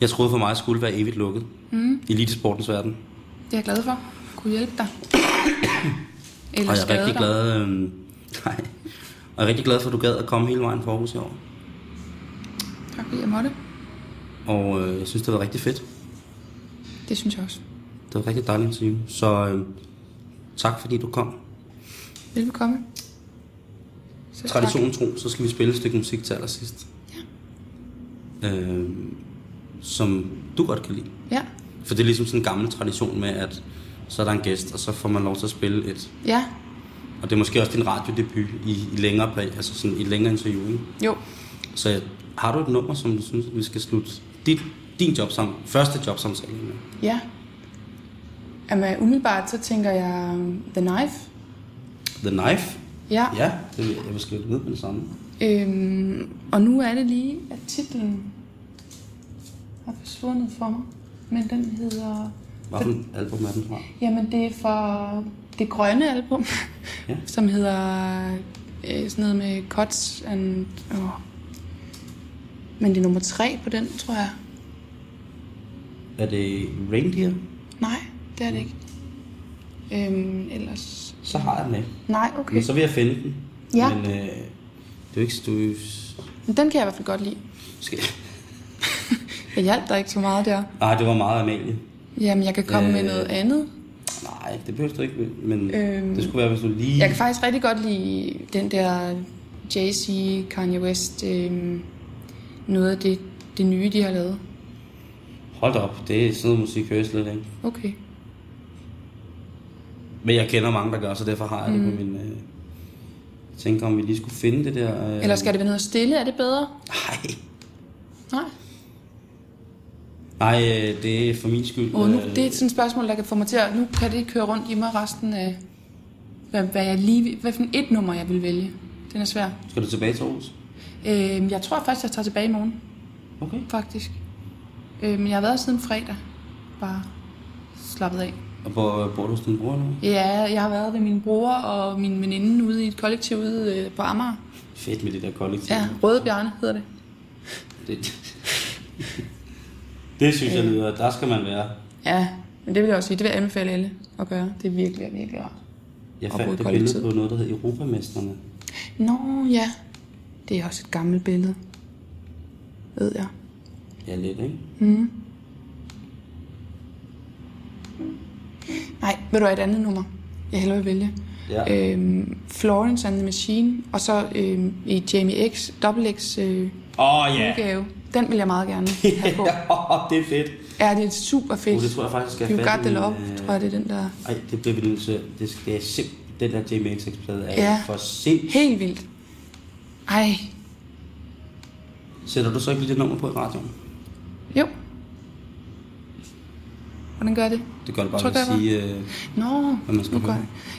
[SPEAKER 3] jeg troede for mig skulle være evigt lukket. Mm. Elitesportens verden.
[SPEAKER 2] Det er jeg glad for. Kunne hjælpe dig. Eller
[SPEAKER 3] Og jeg er
[SPEAKER 2] skade
[SPEAKER 3] rigtig
[SPEAKER 2] dig.
[SPEAKER 3] glad, øh, nej, og jeg er rigtig glad for, at du gad at komme hele vejen fra Aarhus i år.
[SPEAKER 2] Tak fordi jeg måtte.
[SPEAKER 3] Og øh, jeg synes, det var rigtig fedt.
[SPEAKER 2] Det synes jeg også.
[SPEAKER 3] Det var et rigtig dejligt interview. Så øh, tak, fordi du kom.
[SPEAKER 2] Velbekomme. Så
[SPEAKER 3] Traditionen tro, så skal vi spille et stykke musik til allersidst. Ja. Øh, som du godt kan lide.
[SPEAKER 2] tak. Ja.
[SPEAKER 3] For det er ligesom sådan en gammel tradition med, at så er der en gæst, og så får man lov til at spille et.
[SPEAKER 2] Ja.
[SPEAKER 3] Og det er måske også din radiodebut i, i længere play, altså sådan i længere interview. Ikke?
[SPEAKER 2] Jo.
[SPEAKER 3] Så jeg- har du et nummer, som du synes, vi skal slutte dit, din jobsam, første jobsamtale med?
[SPEAKER 2] Ja. Jamen, umiddelbart så tænker jeg um, The Knife.
[SPEAKER 3] The Knife?
[SPEAKER 2] Ja.
[SPEAKER 3] Ja, det vil jeg, jeg vil skrive det ned med det samme.
[SPEAKER 2] Øhm, og nu er det lige, at titlen har forsvundet for mig. Men den hedder...
[SPEAKER 3] Hvad for en album er den fra?
[SPEAKER 2] Jamen, det er fra det grønne album,
[SPEAKER 3] Ja.
[SPEAKER 2] ja. som hedder øh, sådan noget med Cuts and... Oh. Men det er nummer tre på den, tror jeg.
[SPEAKER 3] Er det Reindeer?
[SPEAKER 2] Nej, det er det ikke. Øhm, ellers...
[SPEAKER 3] Så har jeg den med.
[SPEAKER 2] Nej, okay.
[SPEAKER 3] Men så vil jeg finde den.
[SPEAKER 2] Ja.
[SPEAKER 3] Men øh, det er jo ikke... Du, er jo-
[SPEAKER 2] Men den kan jeg i hvert fald godt lide.
[SPEAKER 3] skal...
[SPEAKER 2] Jeg hjalp dig ikke så meget der.
[SPEAKER 3] Nej, det var meget Amalie.
[SPEAKER 2] Jamen, jeg kan komme øh... med
[SPEAKER 3] Øh.
[SPEAKER 2] noget andet.
[SPEAKER 3] Nej, det behøver du ikke, men øhm,
[SPEAKER 2] Øhm,
[SPEAKER 3] det skulle være, hvis du lige...
[SPEAKER 2] Jeg kan faktisk rigtig godt lide den der Jay-Z, Kanye West, øhm, noget af det, det nye, de har lavet.
[SPEAKER 3] Hold da op, det er sådan noget musik, hører jeg slet ikke.
[SPEAKER 2] Okay.
[SPEAKER 3] Men jeg kender mange, der gør, så derfor har jeg det
[SPEAKER 2] Mm.
[SPEAKER 3] på min... Øh... Jeg tænker, om vi lige skulle finde det der... Øh...
[SPEAKER 2] Eller skal det være noget stille? Er det bedre?
[SPEAKER 3] Nej,
[SPEAKER 2] Nej.
[SPEAKER 3] Nej øh, det er for min skyld.
[SPEAKER 2] Og nu,
[SPEAKER 3] øh,
[SPEAKER 2] det er sådan et spørgsmål, der kan få mig til at... Nu kan det ikke køre rundt i mig resten af... Hvad, hvad, jeg lige, hvad for et nummer, jeg vil vælge. Den er svær.
[SPEAKER 3] Skal du tilbage til Aarhus?
[SPEAKER 2] Øhm, jeg tror faktisk, jeg tager tilbage i morgen,
[SPEAKER 3] Okay.
[SPEAKER 2] faktisk. Øhm, men jeg har været her siden fredag. Bare slappet af.
[SPEAKER 3] Og hvor bor du hos din bror eller hvad?
[SPEAKER 2] Ja, jeg har været ved min bror og min veninde ude i et kollektiv ude øh, på Amager.
[SPEAKER 3] Fedt med det der kollektiv.
[SPEAKER 2] Ja, Røde Bjarne hedder det.
[SPEAKER 3] Det, det synes jeg
[SPEAKER 2] Øh.
[SPEAKER 3] lyder, der skal man være.
[SPEAKER 2] Ja, men det vil jeg også sige, det vil jeg anbefale alle at gøre. Det er virkelig, virkelig rart.
[SPEAKER 3] Jeg
[SPEAKER 2] Og bo i
[SPEAKER 3] fandt et billede
[SPEAKER 2] kollektiv.
[SPEAKER 3] på noget, der hed Europamesterne.
[SPEAKER 2] Nå ja, det er også et gammelt billede. Ved jeg.
[SPEAKER 3] Ja, lidt, ikke?
[SPEAKER 2] Nej, vil du have et andet nummer? Jeg hellere vil vælge.
[SPEAKER 3] Ja.
[SPEAKER 2] Øhm, Florence and the Machine, og så øhm, i Jamie X, Double X øh,
[SPEAKER 3] Åh, oh, ja.
[SPEAKER 2] udgave. Den vil jeg meget gerne have på.
[SPEAKER 3] Yeah. det er fedt.
[SPEAKER 2] Ja, det er super fedt.
[SPEAKER 3] Uh, det tror jeg faktisk, jeg skal
[SPEAKER 2] You
[SPEAKER 3] have
[SPEAKER 2] got
[SPEAKER 3] fat i
[SPEAKER 2] the
[SPEAKER 3] min,
[SPEAKER 2] love,
[SPEAKER 3] øh,
[SPEAKER 2] tror jeg, det er den der.
[SPEAKER 3] Ej, det bliver vi nødt til. Det skal jeg simpelthen... Den der Jamie XX-plade er ja.
[SPEAKER 2] Ja.
[SPEAKER 3] for sindssygt.
[SPEAKER 2] Helt vildt. Ej,
[SPEAKER 3] Sætter du så ikke lige det nummer på i radioen?
[SPEAKER 2] jo. Hvordan gør jeg det?
[SPEAKER 3] Det gør det bare
[SPEAKER 2] Tror
[SPEAKER 3] ved at
[SPEAKER 2] du, det
[SPEAKER 3] sige... Øh,
[SPEAKER 2] Nå,
[SPEAKER 3] Hvad man skal
[SPEAKER 2] nu
[SPEAKER 3] høre.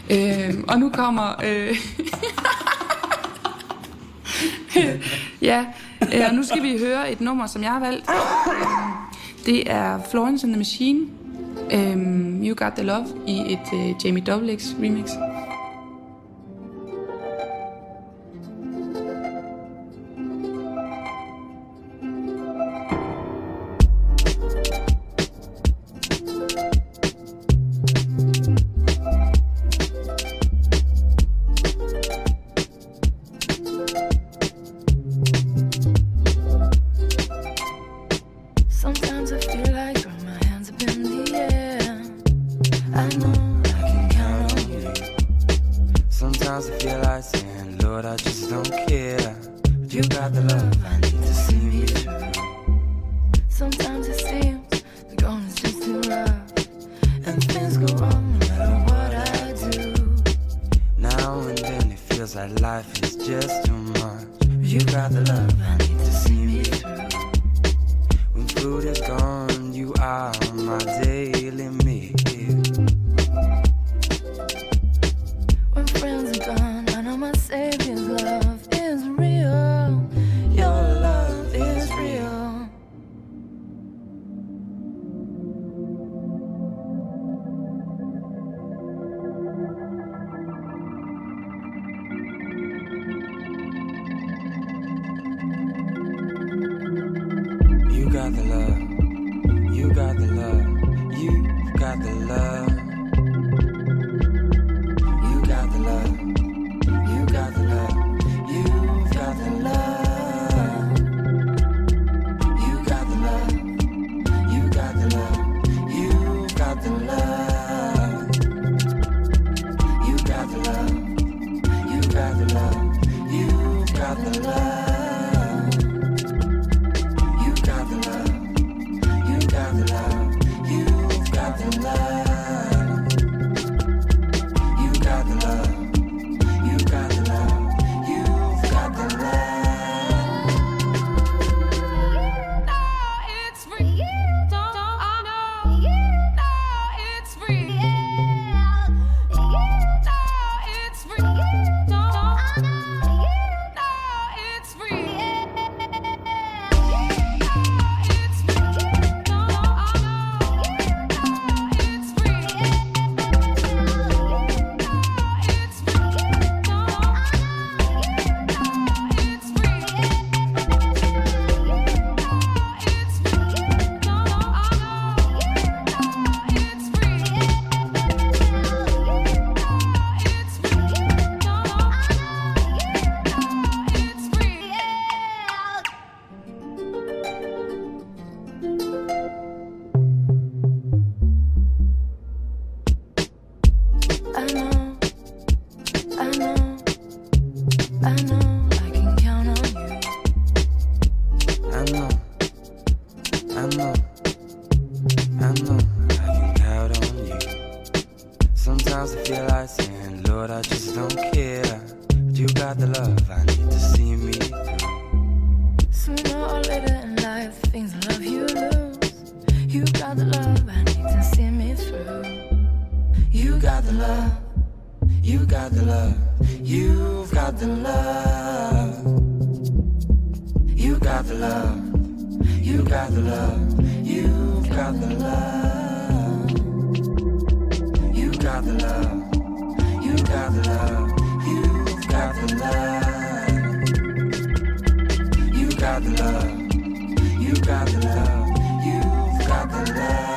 [SPEAKER 2] gør jeg. Øhm, og nu kommer... Øh, ja, øh, og nu skal vi høre et nummer, som jeg har valgt. Øhm, Det er Florence and the Machine. Øhm, you Got The Love i et øh, Jamie X remix.
[SPEAKER 4] Sometimes I feel like throwing my hands up in the air. I know I can count on you. got the love. You got the love. You got the love. You got the love. You got the love. You got the love. You got the love. You got the love. You got the love. You got the love. You got the love. You got the love. You got the love. You got the love. You got the love. You got the love. You got the love. You got the love.
[SPEAKER 5] it's free. Yeah, don't, don't, I know. Yeah, no, it's free. Yeah, yeah, no, it's free. Yeah, don't, don't, I know. Yeah, no, it's free. Yeah, no, it's free. Yeah, don't, don't, I know. Yeah, no, it's free. Yeah.
[SPEAKER 6] I know, I know, I know I can count on you.
[SPEAKER 4] I know, I know, I know I can count on you. Sometimes I feel like saying, Lord, I just don't care. But you got the love I need to see me through.
[SPEAKER 6] Sooner or later in life, things I love you lose. You got the love I need to see me through.
[SPEAKER 4] You got the love, you got the love, you've got the love. You got the love, you got the love, you've got the love. You got the love, you got the love, you've got the love. You got the love, you got the love, you've got the love.